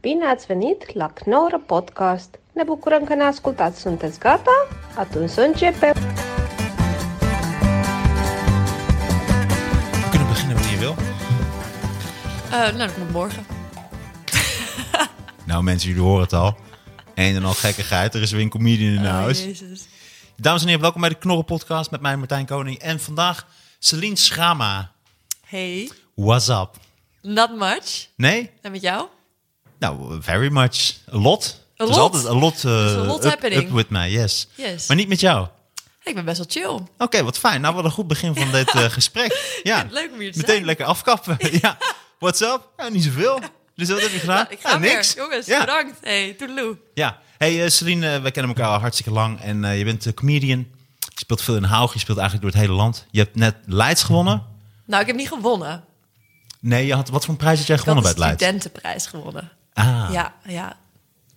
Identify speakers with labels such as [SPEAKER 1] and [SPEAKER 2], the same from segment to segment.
[SPEAKER 1] Bine ați venit la Knorr Podcast! Ne bucurăm că ne ascultați! Sunteți gata? Atunci să începem!
[SPEAKER 2] We kunnen beginnen wanneer je wil.
[SPEAKER 3] Eh, nou, dat komt morgen.
[SPEAKER 2] Nou mensen, jullie horen het al. Een en al gekkigheid, er is weer een comedian in de
[SPEAKER 3] Oh,
[SPEAKER 2] huis.
[SPEAKER 3] Jezus.
[SPEAKER 2] Dames en heren, welkom bij de Knorren Podcast met mij Martijn Koning. En vandaag Celine Schama.
[SPEAKER 3] Hey,
[SPEAKER 2] What's up?
[SPEAKER 3] not much.
[SPEAKER 2] Nee?
[SPEAKER 3] En met jou?
[SPEAKER 2] Nou, very much. A lot.
[SPEAKER 3] A
[SPEAKER 2] Het is
[SPEAKER 3] lot?
[SPEAKER 2] altijd a lot, eh,
[SPEAKER 3] a lot
[SPEAKER 2] up,
[SPEAKER 3] happening.
[SPEAKER 2] up with mij, yes.
[SPEAKER 3] Yes.
[SPEAKER 2] Maar niet met jou. Oké,
[SPEAKER 3] Hey, ik ben best wel chill.
[SPEAKER 2] wat fijn. Nou, wat een goed begin van dit eh, gesprek. Ja.
[SPEAKER 3] Leuk om hier te
[SPEAKER 2] Meteen
[SPEAKER 3] zijn.
[SPEAKER 2] lekker afkappen. ja. What's up? Ja, niet zoveel. Dus wat heb je gedaan?
[SPEAKER 3] Nou, ik ga
[SPEAKER 2] Ja,
[SPEAKER 3] weer.
[SPEAKER 2] niks.
[SPEAKER 3] Jongens,
[SPEAKER 2] Ja.
[SPEAKER 3] bedankt. Hey, toedeloe.
[SPEAKER 2] Ja. Hey eh, Celine, eh, wij kennen elkaar al hartstikke lang en eh, je bent eh, comedian. Je speelt veel in Haug, je speelt eigenlijk door het hele land. Je hebt net Leids gewonnen.
[SPEAKER 3] Nou, ik heb niet gewonnen.
[SPEAKER 2] Nee, je had, wat voor een prijs had jij
[SPEAKER 3] Ik had
[SPEAKER 2] gewonnen
[SPEAKER 3] de
[SPEAKER 2] bij het Leids?
[SPEAKER 3] studentenprijs gewonnen.
[SPEAKER 2] Ah,
[SPEAKER 3] Ja, ja.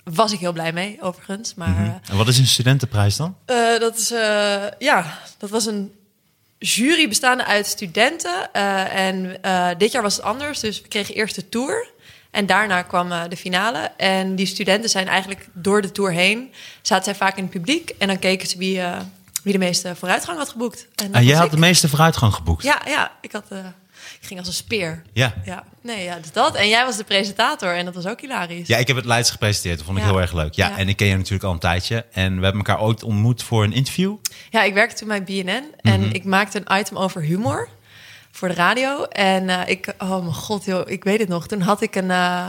[SPEAKER 3] Was ik heel blij mee, overigens. Maar
[SPEAKER 2] en wat is een studentenprijs dan?
[SPEAKER 3] eh, dat is, eh, ja, dat was een jury bestaande uit studenten. eh, en eh, dit jaar was het anders, dus we kregen eerst de tour. En daarna kwam eh, de finale. En die studenten zijn eigenlijk door de tour heen. Zaten zij vaak in het publiek. En dan keken ze wie, eh, wie de meeste vooruitgang had geboekt. En dat
[SPEAKER 2] Ah, jij
[SPEAKER 3] was
[SPEAKER 2] had
[SPEAKER 3] ik.
[SPEAKER 2] de meeste vooruitgang geboekt.
[SPEAKER 3] Ja, ja ik, had, eh, ik ging als een speer.
[SPEAKER 2] Ja.
[SPEAKER 3] ja. Nee, ja, dus dat. En jij was de presentator. En dat was ook hilarisch.
[SPEAKER 2] Ja, ik heb het Leids gepresenteerd. Dat vond ik
[SPEAKER 3] Ja.
[SPEAKER 2] heel erg leuk. Ja,
[SPEAKER 3] Ja.
[SPEAKER 2] en ik ken je natuurlijk al een tijdje. En we hebben elkaar ooit ontmoet voor een interview.
[SPEAKER 3] Ja, ik werkte toen bij BNN en ik maakte een item over humor voor de radio. En eh, ik, oh mijn god, joh, ik weet het nog. Toen had ik een, eh,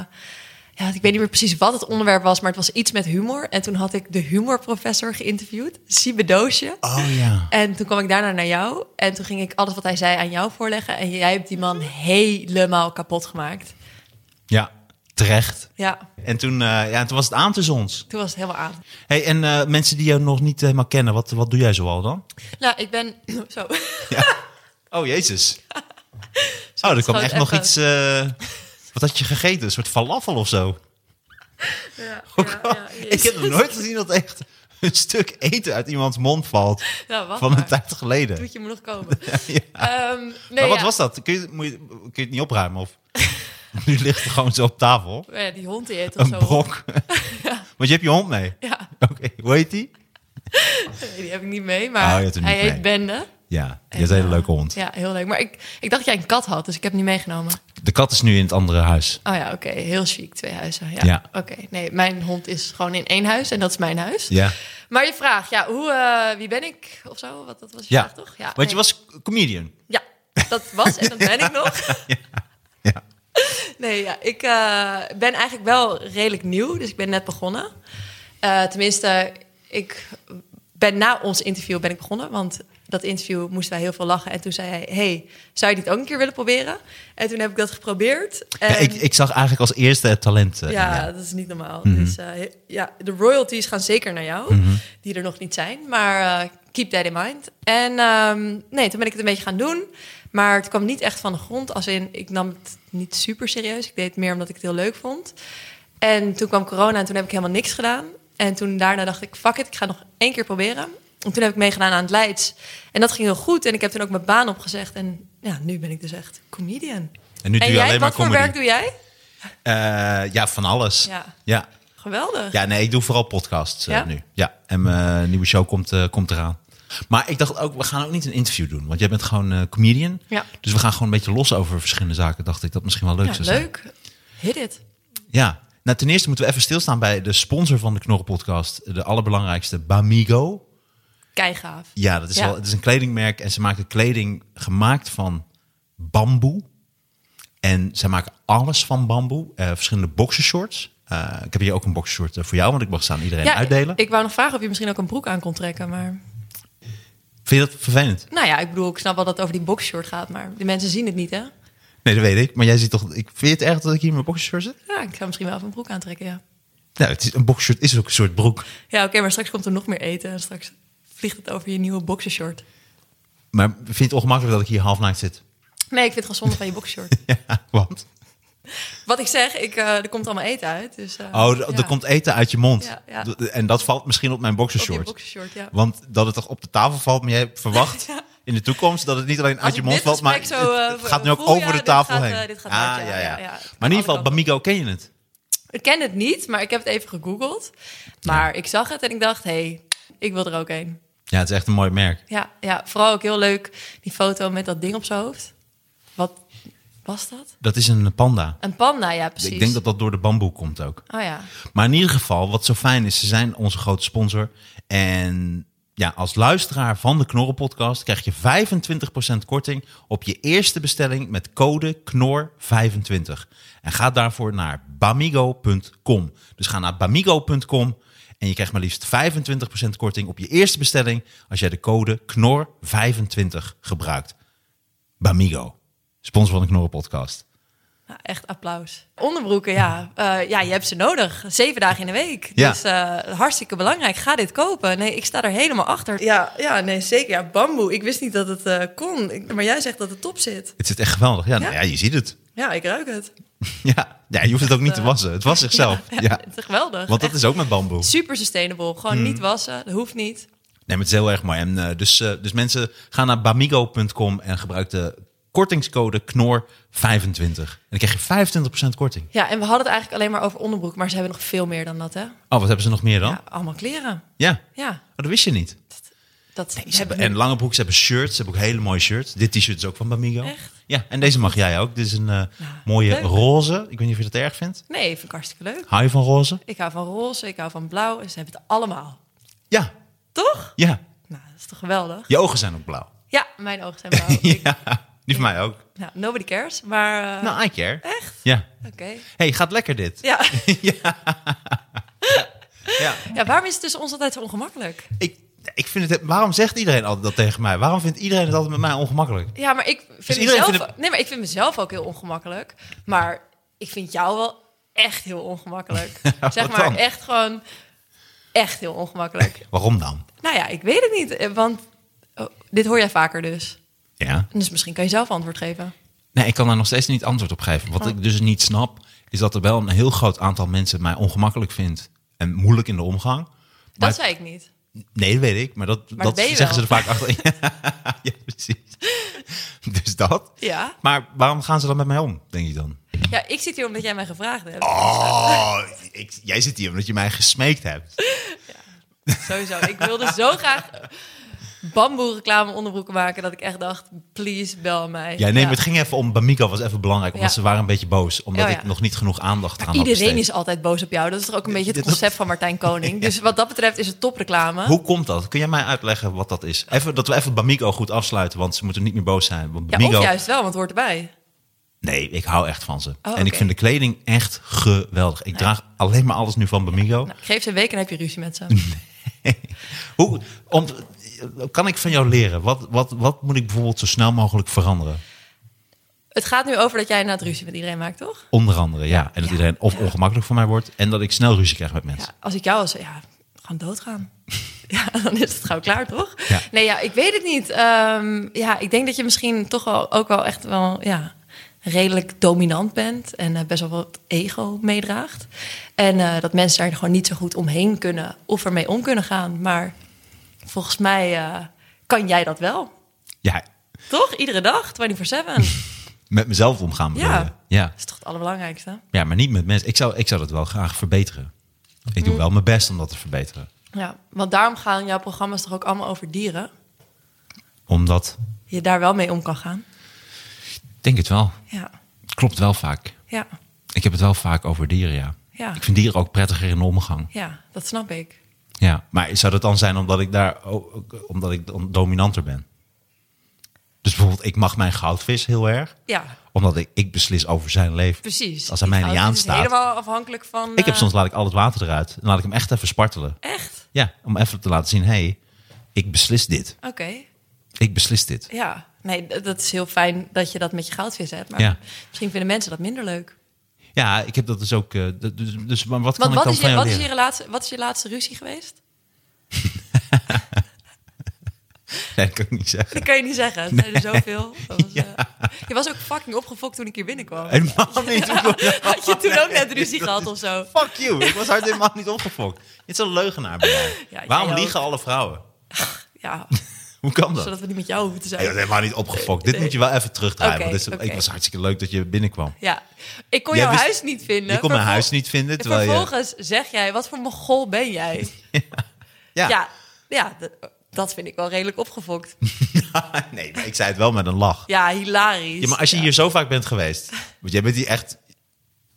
[SPEAKER 3] ja, ik weet niet meer precies wat het onderwerp was, maar het was iets met humor. En toen had ik de humorprofessor geïnterviewd, Siebe Doosje.
[SPEAKER 2] Oh ja.
[SPEAKER 3] En toen kwam ik daarna naar jou en toen ging ik alles wat hij zei aan jou voorleggen. En jij hebt die man helemaal kapot gemaakt.
[SPEAKER 2] Ja, terecht.
[SPEAKER 3] Ja,
[SPEAKER 2] En toen, eh, ja, toen was het aan tussen ons.
[SPEAKER 3] toen was het helemaal aan.
[SPEAKER 2] Hey, en eh, mensen die jou nog niet helemaal kennen, wat, wat doe jij zoal dan?
[SPEAKER 3] Nou, ik ben zo.
[SPEAKER 2] Oh, jezus. Oh, er kwam
[SPEAKER 3] gewoon
[SPEAKER 2] echt nog
[SPEAKER 3] even-
[SPEAKER 2] iets... eh, wat had je gegeten? Een soort falafel of zo?
[SPEAKER 3] Ja,
[SPEAKER 2] Ik heb nog nooit gezien dat echt een stuk eten uit iemands mond valt.
[SPEAKER 3] Nou, wacht
[SPEAKER 2] van een
[SPEAKER 3] maar.
[SPEAKER 2] tijd geleden.
[SPEAKER 3] Moet je me nog komen?
[SPEAKER 2] Ja.
[SPEAKER 3] Ehm, nee,
[SPEAKER 2] maar wat
[SPEAKER 3] ja.
[SPEAKER 2] was dat? Kun je, moet je, kun je het niet opruimen? Of? nu ligt het gewoon zo op tafel.
[SPEAKER 3] Oh Ja, die hond die eet of
[SPEAKER 2] Een
[SPEAKER 3] zo.
[SPEAKER 2] brok. Want je hebt je hond mee.
[SPEAKER 3] Ja,
[SPEAKER 2] Oké, hoe heet die?
[SPEAKER 3] nee, die heb ik niet mee,
[SPEAKER 2] Oh, je
[SPEAKER 3] maar
[SPEAKER 2] hebt hem
[SPEAKER 3] hij
[SPEAKER 2] niet
[SPEAKER 3] heet
[SPEAKER 2] mee.
[SPEAKER 3] Bende.
[SPEAKER 2] Ja, die
[SPEAKER 3] En,
[SPEAKER 2] is een hele
[SPEAKER 3] eh,
[SPEAKER 2] leuke hond.
[SPEAKER 3] Ja, heel leuk. Maar ik, ik dacht dat jij een kat had, dus ik heb hem niet meegenomen.
[SPEAKER 2] De kat is nu in het andere huis.
[SPEAKER 3] Oh ja, oké. Heel chic, twee huizen. Ja,
[SPEAKER 2] Ja.
[SPEAKER 3] oké. Nee, mijn hond is gewoon in één huis en dat is mijn huis.
[SPEAKER 2] Ja.
[SPEAKER 3] Maar je vraag, ja, hoe, eh, wie ben ik of zo? Wat, dat was je
[SPEAKER 2] ja.
[SPEAKER 3] vraag, toch? Ja,
[SPEAKER 2] Want je
[SPEAKER 3] nee.
[SPEAKER 2] was comedian.
[SPEAKER 3] Ja, dat was en dat ben ik nog.
[SPEAKER 2] Ja.
[SPEAKER 3] Nee, ja, ik eh, ben eigenlijk wel redelijk nieuw, dus ik ben net begonnen. Eh, tenminste, ik ben na ons interview ben ik begonnen, want dat interview moesten wij heel veel lachen. En toen zei hij, hey, zou je dit ook een keer willen proberen? En toen heb ik dat geprobeerd. En,
[SPEAKER 2] Ja, ik, ik zag eigenlijk als eerste het talent. eh, in
[SPEAKER 3] ja,
[SPEAKER 2] jou.
[SPEAKER 3] dat is niet normaal.
[SPEAKER 2] Mhm.
[SPEAKER 3] Dus eh, he- ja, de royalties gaan zeker naar jou, die er nog niet zijn. Maar eh, keep that in mind. En ehm, nee, toen ben ik het een beetje gaan doen. Maar het kwam niet echt van de grond. Als in, ik nam het niet super serieus. Ik deed het meer omdat ik het heel leuk vond. En toen kwam corona en toen heb ik helemaal niks gedaan. En toen daarna dacht ik, fuck it, ik ga het nog één keer proberen. En toen heb ik meegedaan aan het Leids. En dat ging heel goed. En ik heb toen ook mijn baan opgezegd. En ja, nu ben ik dus echt comedian.
[SPEAKER 2] En nu doe
[SPEAKER 3] en
[SPEAKER 2] je
[SPEAKER 3] jij,
[SPEAKER 2] alleen
[SPEAKER 3] wat
[SPEAKER 2] maar
[SPEAKER 3] voor
[SPEAKER 2] comedy.
[SPEAKER 3] werk doe jij?
[SPEAKER 2] Eh, ja, van alles.
[SPEAKER 3] Ja.
[SPEAKER 2] ja.
[SPEAKER 3] Geweldig.
[SPEAKER 2] Ja, nee, ik doe vooral podcasts eh,
[SPEAKER 3] Ja?
[SPEAKER 2] nu. Ja, en mijn nieuwe show komt, eh, komt eraan. Maar ik dacht ook, we gaan ook niet een interview doen. Want jij bent gewoon eh, comedian.
[SPEAKER 3] Ja.
[SPEAKER 2] Dus we gaan gewoon een beetje los over verschillende zaken. Dacht ik dat misschien wel leuk
[SPEAKER 3] Ja,
[SPEAKER 2] zou zijn.
[SPEAKER 3] leuk. Hit it.
[SPEAKER 2] Ja. Nou, ten eerste moeten we even stilstaan bij de sponsor van de Knorren Podcast. De allerbelangrijkste, Bamigo.
[SPEAKER 3] Keigaaf.
[SPEAKER 2] Ja, dat is
[SPEAKER 3] Ja.
[SPEAKER 2] wel. Het is een kledingmerk en ze maken kleding gemaakt van bamboe. En ze maken alles van bamboe. Eh, verschillende boxershorts. Eh, ik heb hier ook een boxershort eh, voor jou, want ik mag ze aan iedereen uitdelen.
[SPEAKER 3] Ik, ik wou nog vragen of je misschien ook een broek aan kon trekken, maar...
[SPEAKER 2] Vind je dat vervelend?
[SPEAKER 3] Nou ja, ik bedoel, ik snap wel dat het over die boxshort gaat, maar de mensen zien het niet, hè?
[SPEAKER 2] Nee, dat weet ik. Maar jij ziet toch... Ik, vind je het erg dat ik hier in mijn boxershort zit?
[SPEAKER 3] Ja, ik zou misschien wel even een broek aantrekken, ja.
[SPEAKER 2] Nou, het is, een boxershort is ook een soort broek.
[SPEAKER 3] Ja, oké, maar straks komt er nog meer eten en straks vliegt het over je nieuwe boxershort.
[SPEAKER 2] Maar vind je het ongemakkelijk dat ik hier half naakt zit?
[SPEAKER 3] Nee, ik vind het gewoon zonde van je boxershort.
[SPEAKER 2] Ja, want...
[SPEAKER 3] Wat ik zeg, ik, eh, er komt allemaal eten uit, dus... eh,
[SPEAKER 2] Oh, d-
[SPEAKER 3] ja.
[SPEAKER 2] er komt eten uit je mond.
[SPEAKER 3] Ja, ja.
[SPEAKER 2] D- En dat valt misschien op mijn
[SPEAKER 3] Op je
[SPEAKER 2] boxershort.
[SPEAKER 3] boxershort, ja.
[SPEAKER 2] Want dat het toch op de tafel valt, maar jij verwacht
[SPEAKER 3] Ja.
[SPEAKER 2] in de toekomst dat het niet alleen
[SPEAKER 3] Als
[SPEAKER 2] uit je
[SPEAKER 3] ik
[SPEAKER 2] mond
[SPEAKER 3] dit
[SPEAKER 2] valt, maar
[SPEAKER 3] gesprek zo,
[SPEAKER 2] het,
[SPEAKER 3] eh,
[SPEAKER 2] het gaat nu ook
[SPEAKER 3] voel, ja,
[SPEAKER 2] over de
[SPEAKER 3] dit
[SPEAKER 2] tafel
[SPEAKER 3] gaat,
[SPEAKER 2] heen.
[SPEAKER 3] eh, dit gaat
[SPEAKER 2] Ah,
[SPEAKER 3] hard, ja, ja, ja.
[SPEAKER 2] Maar in ieder geval,
[SPEAKER 3] Alle
[SPEAKER 2] Bamigo ken je het.
[SPEAKER 3] Ik ken het niet, maar ik heb het even gegoogeld. Maar ik zag het en ik dacht, hé, hey, ik wil er ook een.
[SPEAKER 2] Ja, het is echt een mooi merk.
[SPEAKER 3] Ja, ja, vooral ook heel leuk die foto met dat ding op zijn hoofd. Wat was dat?
[SPEAKER 2] Dat is een panda.
[SPEAKER 3] Een panda, ja, precies.
[SPEAKER 2] Ik denk dat dat door de bamboe komt ook.
[SPEAKER 3] Oh ja,
[SPEAKER 2] Maar in ieder geval, wat zo fijn is, ze zijn onze grote sponsor. En ja, als luisteraar van de Knorren podcast krijg je 25% korting op je eerste bestelling met code KNOR25. En ga daarvoor naar bamigo.com. Dus ga naar bamigo.com en je krijgt maar liefst 25% korting op je eerste bestelling als jij de code KNOR25 gebruikt. Bamigo, sponsor van de Knorren podcast.
[SPEAKER 3] Nou, echt applaus. Onderbroeken, ja. Eh, ja, je hebt ze nodig. Zeven dagen in de week.
[SPEAKER 2] Ja.
[SPEAKER 3] Dus eh, hartstikke belangrijk. Ga dit kopen. Nee, ik sta er helemaal achter. Ja, ja nee, zeker. Ja, bamboe. Ik wist niet dat het eh, kon. Ik- maar jij zegt dat het top zit.
[SPEAKER 2] Het zit echt geweldig. Ja, nou
[SPEAKER 3] Ja.
[SPEAKER 2] ja je ziet het.
[SPEAKER 3] Ja, ik ruik het.
[SPEAKER 2] Ja. ja, je hoeft het ook niet te wassen. Het was zichzelf.
[SPEAKER 3] Ja,
[SPEAKER 2] ja. Hmm.
[SPEAKER 3] Het is geweldig.
[SPEAKER 2] Want dat
[SPEAKER 3] Echt
[SPEAKER 2] is ook met bamboe.
[SPEAKER 3] super sustainable. Gewoon niet wassen. Dat hoeft niet.
[SPEAKER 2] Nee, maar het is heel erg mooi. En, eh, dus, eh, dus mensen, ga naar bamigo.com en gebruik de kortingscode KNOR25. En dan krijg je 25% korting.
[SPEAKER 3] Ja, en we hadden het eigenlijk alleen maar over onderbroek. Maar ze hebben nog veel meer dan dat, hè?
[SPEAKER 2] Oh, wat hebben ze nog meer dan?
[SPEAKER 3] Ja,
[SPEAKER 2] Ja.
[SPEAKER 3] allemaal kleren. Ja,
[SPEAKER 2] Oh, dat wist je niet.
[SPEAKER 3] dat
[SPEAKER 2] Ze
[SPEAKER 3] hebben
[SPEAKER 2] hebben, en lange broek, ze hebben shirts. Ze hebben ook hele mooie shirts. Dit t-shirt is ook van Bamigo.
[SPEAKER 3] Echt?
[SPEAKER 2] Ja, en deze mag jij ook. Dit is een eh, mooie
[SPEAKER 3] leuk.
[SPEAKER 2] roze. Ik weet niet of je dat erg vindt.
[SPEAKER 3] Nee, vind ik hartstikke leuk.
[SPEAKER 2] Hou je van roze?
[SPEAKER 3] Ik hou van roze, ik hou van blauw. En ze hebben het allemaal.
[SPEAKER 2] Ja,
[SPEAKER 3] Toch?
[SPEAKER 2] ja.
[SPEAKER 3] Nou, dat is toch geweldig?
[SPEAKER 2] Je ogen zijn ook blauw.
[SPEAKER 3] Ja, mijn ogen zijn blauw. Ik-
[SPEAKER 2] ja, die van mij ook.
[SPEAKER 3] nou, nobody cares, maar... eh,
[SPEAKER 2] Nou, I care.
[SPEAKER 3] Echt?
[SPEAKER 2] Ja.
[SPEAKER 3] Oké.
[SPEAKER 2] hey, gaat lekker dit.
[SPEAKER 3] Ja.
[SPEAKER 2] Ja.
[SPEAKER 3] ja, waarom is het dus ons altijd zo ongemakkelijk?
[SPEAKER 2] Ik, ik vind het, waarom zegt iedereen altijd dat tegen mij? Waarom vindt iedereen het altijd met mij ongemakkelijk?
[SPEAKER 3] Ja, maar ik vind
[SPEAKER 2] Dus iedereen
[SPEAKER 3] mezelf...
[SPEAKER 2] vindt het-
[SPEAKER 3] Nee, maar ik vind mezelf ook heel ongemakkelijk. Maar ik vind jou wel echt heel ongemakkelijk. zeg
[SPEAKER 2] Wat
[SPEAKER 3] maar,
[SPEAKER 2] dan?
[SPEAKER 3] echt gewoon... Echt heel ongemakkelijk.
[SPEAKER 2] Waarom dan?
[SPEAKER 3] nou ja, ik weet het niet, eh, want... oh, dit hoor jij vaker dus.
[SPEAKER 2] Ja.
[SPEAKER 3] Dus misschien kan je zelf antwoord geven.
[SPEAKER 2] Nee, ik kan daar nog steeds niet antwoord op geven.
[SPEAKER 3] Oh.
[SPEAKER 2] Wat ik dus niet snap, is dat er wel een heel groot aantal mensen mij ongemakkelijk vindt en moeilijk in de omgang.
[SPEAKER 3] Dat
[SPEAKER 2] Maar-
[SPEAKER 3] zei ik niet.
[SPEAKER 2] Nee, dat weet ik, maar dat,
[SPEAKER 3] Maar dat
[SPEAKER 2] dat
[SPEAKER 3] ben je
[SPEAKER 2] zeggen ze
[SPEAKER 3] wel.
[SPEAKER 2] er vaak achter. ja, precies. Dus dat.
[SPEAKER 3] Ja.
[SPEAKER 2] Maar waarom gaan ze dan met mij om, denk je dan?
[SPEAKER 3] Ja, ik zit hier omdat jij mij gevraagd hebt.
[SPEAKER 2] Oh, ik, jij zit hier omdat je mij gesmeekt hebt.
[SPEAKER 3] Sowieso. Ik wilde zo graag bamboe reclame onderbroeken maken dat ik echt dacht, please bel mij.
[SPEAKER 2] Ja, nee, maar
[SPEAKER 3] Ja.
[SPEAKER 2] het ging even om. Bamigo was even belangrijk, omdat
[SPEAKER 3] Ja. Oh,
[SPEAKER 2] ze waren een beetje boos. Omdat
[SPEAKER 3] Ja, ja.
[SPEAKER 2] ik nog niet genoeg aandacht aan had
[SPEAKER 3] Iedereen
[SPEAKER 2] besteed.
[SPEAKER 3] is altijd boos op jou. Dat is toch ook een beetje het
[SPEAKER 2] dit-
[SPEAKER 3] concept van Martijn Koning. Dus wat dat betreft is het topreclame.
[SPEAKER 2] Hoe komt dat? Kun jij mij uitleggen wat dat is? Even, dat we even Bamigo goed afsluiten, want ze moeten niet meer boos zijn. Want
[SPEAKER 3] Ja,
[SPEAKER 2] Bamigo...
[SPEAKER 3] of juist wel, want het hoort erbij.
[SPEAKER 2] Nee, ik hou echt van ze. en ik
[SPEAKER 3] oké.
[SPEAKER 2] vind de kleding echt geweldig. Ik draag alleen maar alles nu van Bamigo.
[SPEAKER 3] Nou, geef ze een week en heb je ruzie met ze.
[SPEAKER 2] Hoe om, kan ik van jou leren? Wat, wat, wat moet ik bijvoorbeeld zo snel mogelijk veranderen?
[SPEAKER 3] Het gaat nu over dat jij inderdaad ruzie met iedereen maakt, toch?
[SPEAKER 2] Onder andere, ja. En dat
[SPEAKER 3] Ja.
[SPEAKER 2] iedereen of ongemakkelijk voor mij wordt... en dat ik snel ruzie krijg met mensen.
[SPEAKER 3] Ja, als ik jou was, ja, gewoon doodgaan. Ja, dan is het gauw klaar, toch?
[SPEAKER 2] Ja.
[SPEAKER 3] Nee, ja, ik weet het niet. Ehm, ja, ik denk dat je misschien toch wel, ook wel echt wel ja, redelijk dominant bent en eh, best wel wat ego meedraagt. En eh, dat mensen daar gewoon niet zo goed omheen kunnen of ermee om kunnen gaan. Maar volgens mij eh, kan jij dat wel,
[SPEAKER 2] Ja,
[SPEAKER 3] toch? Iedere dag, 24-7.
[SPEAKER 2] met mezelf omgaan bedoel
[SPEAKER 3] Ja.
[SPEAKER 2] je? Ja.
[SPEAKER 3] Dat is toch het allerbelangrijkste?
[SPEAKER 2] Ja, maar niet met mensen. Ik zou, ik zou dat wel graag verbeteren. Ik
[SPEAKER 3] Mhm.
[SPEAKER 2] doe wel mijn best om dat te verbeteren.
[SPEAKER 3] Ja, want daarom gaan jouw programma's toch ook allemaal over dieren?
[SPEAKER 2] Omdat,
[SPEAKER 3] Je daar wel mee om kan gaan.
[SPEAKER 2] ik denk het wel.
[SPEAKER 3] Ja,
[SPEAKER 2] Klopt wel vaak.
[SPEAKER 3] ja.
[SPEAKER 2] Ik heb het wel vaak over dieren, ja.
[SPEAKER 3] Ja.
[SPEAKER 2] Ik vind dieren ook prettiger in de omgang.
[SPEAKER 3] Ja, dat snap ik.
[SPEAKER 2] Ja. Maar zou dat dan zijn omdat ik daar ook- omdat ik dan dominanter ben? Dus bijvoorbeeld, ik mag mijn goudvis heel erg.
[SPEAKER 3] Ja,
[SPEAKER 2] Omdat ik, ik beslis over zijn leven.
[SPEAKER 3] precies.
[SPEAKER 2] Als hij mij
[SPEAKER 3] Die
[SPEAKER 2] niet
[SPEAKER 3] auto
[SPEAKER 2] aanstaat.
[SPEAKER 3] is helemaal afhankelijk van...
[SPEAKER 2] Ik heb
[SPEAKER 3] eh,
[SPEAKER 2] soms laat ik al het water eruit. En laat ik hem echt even spartelen.
[SPEAKER 3] Echt?
[SPEAKER 2] Ja, om even te laten zien, hé, hey, ik beslis dit.
[SPEAKER 3] Oké,
[SPEAKER 2] Ik beslis dit.
[SPEAKER 3] ja. Nee, d- dat is heel fijn dat je dat met je goudvis hebt. Maar
[SPEAKER 2] Ja.
[SPEAKER 3] misschien vinden mensen dat minder leuk.
[SPEAKER 2] Ja, ik heb dat dus ook. eh, d- dus, dus, maar wat kan ik
[SPEAKER 3] Want wat
[SPEAKER 2] dan
[SPEAKER 3] is,
[SPEAKER 2] van
[SPEAKER 3] je,
[SPEAKER 2] jou
[SPEAKER 3] wat, is je
[SPEAKER 2] leren?
[SPEAKER 3] laatste, wat is je laatste ruzie geweest?
[SPEAKER 2] Nee, dat kan ik niet zeggen.
[SPEAKER 3] Dat kan je niet zeggen. Het zijn er zoveel. Dat was, eh, Je was ook fucking opgefokt toen ik hier binnenkwam.
[SPEAKER 2] Helemaal niet.
[SPEAKER 3] Had je toen ook net ruzie gehad of zo?
[SPEAKER 2] Fuck you. Ik was hard helemaal niet opgefokt. Dit is een leugenaar bij mij.
[SPEAKER 3] Ja, jij
[SPEAKER 2] Waarom
[SPEAKER 3] ook.
[SPEAKER 2] liegen alle vrouwen?
[SPEAKER 3] Ja,
[SPEAKER 2] Hoe kan dat?
[SPEAKER 3] Zodat we niet met jou hoeven te
[SPEAKER 2] Hey, dat
[SPEAKER 3] zijn.
[SPEAKER 2] is helemaal niet opgefokt. Dit moet je wel even terugdraaien.
[SPEAKER 3] Oké,
[SPEAKER 2] want dit is,
[SPEAKER 3] oké.
[SPEAKER 2] Ik was hartstikke leuk dat je binnenkwam.
[SPEAKER 3] Ja. Ik kon
[SPEAKER 2] Jij
[SPEAKER 3] jouw
[SPEAKER 2] wist-
[SPEAKER 3] huis niet vinden.
[SPEAKER 2] je kon mijn
[SPEAKER 3] Vervol-
[SPEAKER 2] huis niet vinden.
[SPEAKER 3] En
[SPEAKER 2] Terwijl je,
[SPEAKER 3] vervolgens zeg jij, wat voor mogol ben jij?
[SPEAKER 2] ja.
[SPEAKER 3] Ja, ja d- dat vind ik wel redelijk opgefokt.
[SPEAKER 2] nee, maar ik zei het wel met een lach.
[SPEAKER 3] Ja, hilarisch.
[SPEAKER 2] Ja, maar als je
[SPEAKER 3] Ja.
[SPEAKER 2] hier zo vaak bent geweest. Want jij bent hier echt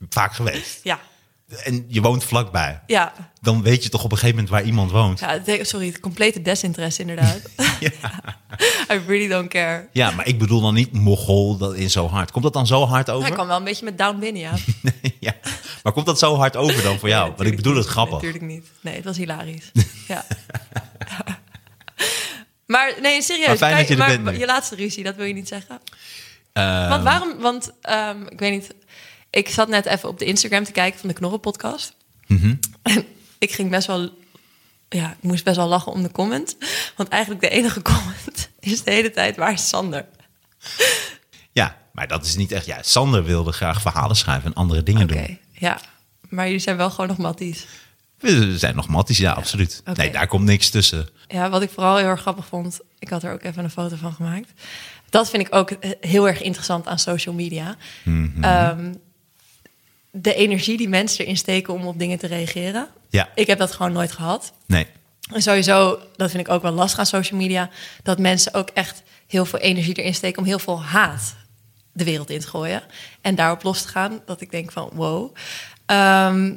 [SPEAKER 2] vaak geweest.
[SPEAKER 3] Ja,
[SPEAKER 2] En je woont vlakbij.
[SPEAKER 3] ja.
[SPEAKER 2] Dan weet je toch op een gegeven moment waar iemand woont.
[SPEAKER 3] ja het de- sorry, het complete desinteresse inderdaad. I really don't care.
[SPEAKER 2] Ja, maar ik bedoel dan niet mogol dat in zo hard. Komt dat dan zo hard
[SPEAKER 3] Hij
[SPEAKER 2] over?
[SPEAKER 3] kwam wel een beetje met down binnen, ja.
[SPEAKER 2] ja. Maar komt dat zo hard over dan voor jou? Want ik
[SPEAKER 3] Natuurlijk
[SPEAKER 2] bedoel het
[SPEAKER 3] niet.
[SPEAKER 2] grappig.
[SPEAKER 3] Natuurlijk niet. Nee, het was hilarisch. ja. maar nee, serieus.
[SPEAKER 2] Maar fijn dat
[SPEAKER 3] Kijk,
[SPEAKER 2] je er
[SPEAKER 3] maar
[SPEAKER 2] bent nu.
[SPEAKER 3] je laatste ruzie, dat wil je niet zeggen.
[SPEAKER 2] Eh,
[SPEAKER 3] Want waarom? Want ehm, ik weet niet. Ik zat net even op de Instagram te kijken van de Knorren podcast. En ik ging best wel. Ja, ik moest best wel lachen om de comment. Want eigenlijk de enige comment is de hele tijd waar is Sander?
[SPEAKER 2] ja, maar dat is niet echt. Ja, Sander wilde graag verhalen schrijven en andere dingen
[SPEAKER 3] Oké,
[SPEAKER 2] doen.
[SPEAKER 3] ja. Maar jullie zijn wel gewoon nog matties.
[SPEAKER 2] We zijn nog matties, ja, absoluut.
[SPEAKER 3] oké.
[SPEAKER 2] Nee, daar komt niks tussen.
[SPEAKER 3] Ja, wat ik vooral heel erg grappig vond, ik had er ook even een foto van gemaakt. Dat vind ik ook eh, heel erg interessant aan social media. Ehm, de energie die mensen erin steken om op dingen te reageren.
[SPEAKER 2] Ja.
[SPEAKER 3] Ik heb dat gewoon nooit gehad.
[SPEAKER 2] Nee.
[SPEAKER 3] En sowieso, dat vind ik ook wel lastig aan social media, dat mensen ook echt heel veel energie erin steken om heel veel haat de wereld in te gooien. En daarop los te gaan, dat ik denk van wow. Ehm,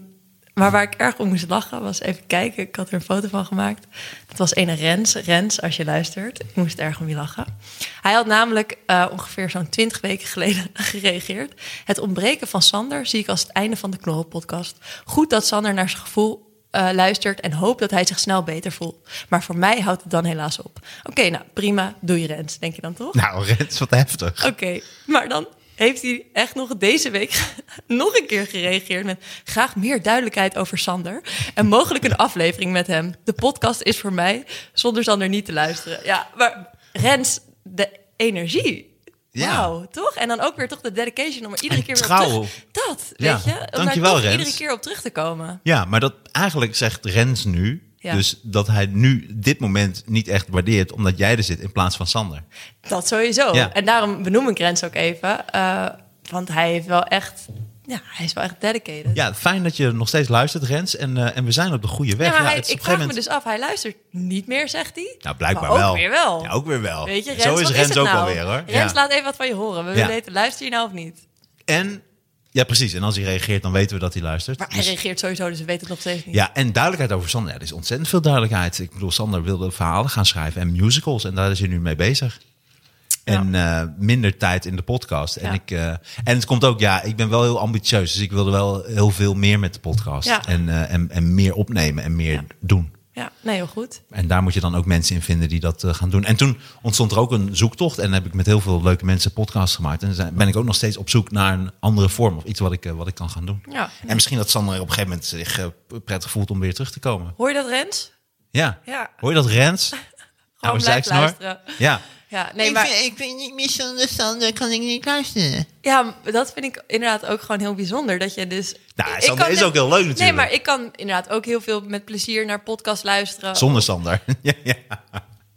[SPEAKER 3] maar waar ik erg om moest lachen was even kijken. Ik had er een foto van gemaakt. Dat was een Rens. Rens, als je luistert. Ik moest erg om je lachen. Hij had namelijk eh, ongeveer zo'n twintig weken geleden gereageerd. Het ontbreken van Sander zie ik als het einde van de Knorrelpodcast. Goed dat Sander naar zijn gevoel eh, luistert en hoop dat hij zich snel beter voelt. Maar voor mij houdt het dan helaas op. Oké, nou prima. Doe je Rens, denk je dan toch?
[SPEAKER 2] Nou, Rens, wat heftig.
[SPEAKER 3] Oké, maar dan heeft hij echt nog deze week nog een keer gereageerd met graag meer duidelijkheid over Sander en mogelijk een aflevering met hem. De podcast is voor mij zonder Sander niet te luisteren. Ja, maar Rens, de energie.
[SPEAKER 2] Ja.
[SPEAKER 3] Wauw, toch? En dan ook weer toch de dedication om er iedere
[SPEAKER 2] En
[SPEAKER 3] keer weer
[SPEAKER 2] trouw.
[SPEAKER 3] op terug... Dat,
[SPEAKER 2] Ja,
[SPEAKER 3] weet je? Om
[SPEAKER 2] dankjewel,
[SPEAKER 3] daar toch
[SPEAKER 2] Rens.
[SPEAKER 3] iedere keer op terug te komen.
[SPEAKER 2] Ja, maar dat eigenlijk zegt Rens nu.
[SPEAKER 3] Ja.
[SPEAKER 2] Dus dat hij nu dit moment niet echt waardeert omdat jij er zit in plaats van Sander.
[SPEAKER 3] Dat sowieso.
[SPEAKER 2] Ja.
[SPEAKER 3] En daarom benoem ik Rens ook even. eh, want hij heeft wel echt... Ja, hij is wel echt dedicated.
[SPEAKER 2] Ja, fijn dat je nog steeds luistert, Rens. En, eh, en we zijn op de goede weg.
[SPEAKER 3] Ja, maar hij-
[SPEAKER 2] het is op
[SPEAKER 3] ik
[SPEAKER 2] een
[SPEAKER 3] vraag
[SPEAKER 2] gegeven
[SPEAKER 3] me
[SPEAKER 2] moment-
[SPEAKER 3] dus af, hij luistert niet meer, zegt hij.
[SPEAKER 2] Nou, blijkbaar
[SPEAKER 3] maar ook
[SPEAKER 2] wel.
[SPEAKER 3] weer wel.
[SPEAKER 2] Ja, ook weer wel.
[SPEAKER 3] Weet je, Rens,
[SPEAKER 2] Zo is
[SPEAKER 3] wat
[SPEAKER 2] Rens
[SPEAKER 3] het
[SPEAKER 2] ook
[SPEAKER 3] nou?
[SPEAKER 2] alweer hoor.
[SPEAKER 3] Rens,
[SPEAKER 2] ja.
[SPEAKER 3] laat even wat van je horen. We
[SPEAKER 2] Ja.
[SPEAKER 3] willen weten, luister je nou of niet?
[SPEAKER 2] En, ja, precies. En als hij reageert, dan weten we dat hij luistert.
[SPEAKER 3] Maar hij
[SPEAKER 2] Dus-
[SPEAKER 3] reageert sowieso, dus we weten het nog steeds niet.
[SPEAKER 2] Ja, en duidelijkheid over Sander. Ja, er is ontzettend veel duidelijkheid. Ik bedoel, Sander wilde verhalen gaan schrijven en musicals. En daar is hij nu mee bezig. En eh, minder tijd in de podcast. En,
[SPEAKER 3] Ja.
[SPEAKER 2] ik, eh, en het komt ook, ja, ik ben wel heel ambitieus. Dus ik wilde wel heel veel meer met de podcast.
[SPEAKER 3] Ja.
[SPEAKER 2] En, eh, en, en meer opnemen en meer
[SPEAKER 3] Ja.
[SPEAKER 2] doen.
[SPEAKER 3] Ja, nee, heel goed.
[SPEAKER 2] En daar moet je dan ook mensen in vinden die dat eh, gaan doen. En toen ontstond er ook een zoektocht. En heb ik met heel veel leuke mensen podcasts gemaakt. En zijn, ben ik ook nog steeds op zoek naar een andere vorm. Of iets wat ik, eh, wat ik kan gaan doen.
[SPEAKER 3] Ja.
[SPEAKER 2] En misschien dat Sander op een gegeven moment zich eh, prettig voelt om weer terug te komen.
[SPEAKER 3] Hoor je dat, Rens?
[SPEAKER 2] Ja.
[SPEAKER 3] Ja.
[SPEAKER 2] Hoor je dat, Rens? Nou,
[SPEAKER 3] Gewoon
[SPEAKER 2] Oude
[SPEAKER 3] blijf
[SPEAKER 2] zeiksnor.
[SPEAKER 3] luisteren.
[SPEAKER 2] Ja.
[SPEAKER 3] Ja, nee, maar...
[SPEAKER 4] ik, vind, ik vind niet meer zonder Sander kan ik niet luisteren.
[SPEAKER 3] Ja, dat vind ik inderdaad ook gewoon heel bijzonder. Dat je dus.
[SPEAKER 2] Nou,
[SPEAKER 3] ik
[SPEAKER 2] Sander
[SPEAKER 3] kan
[SPEAKER 2] is
[SPEAKER 3] net-
[SPEAKER 2] ook heel leuk natuurlijk.
[SPEAKER 3] Nee, maar ik kan inderdaad ook heel veel met plezier naar podcasts luisteren.
[SPEAKER 2] Zonder Sander. ja, ja.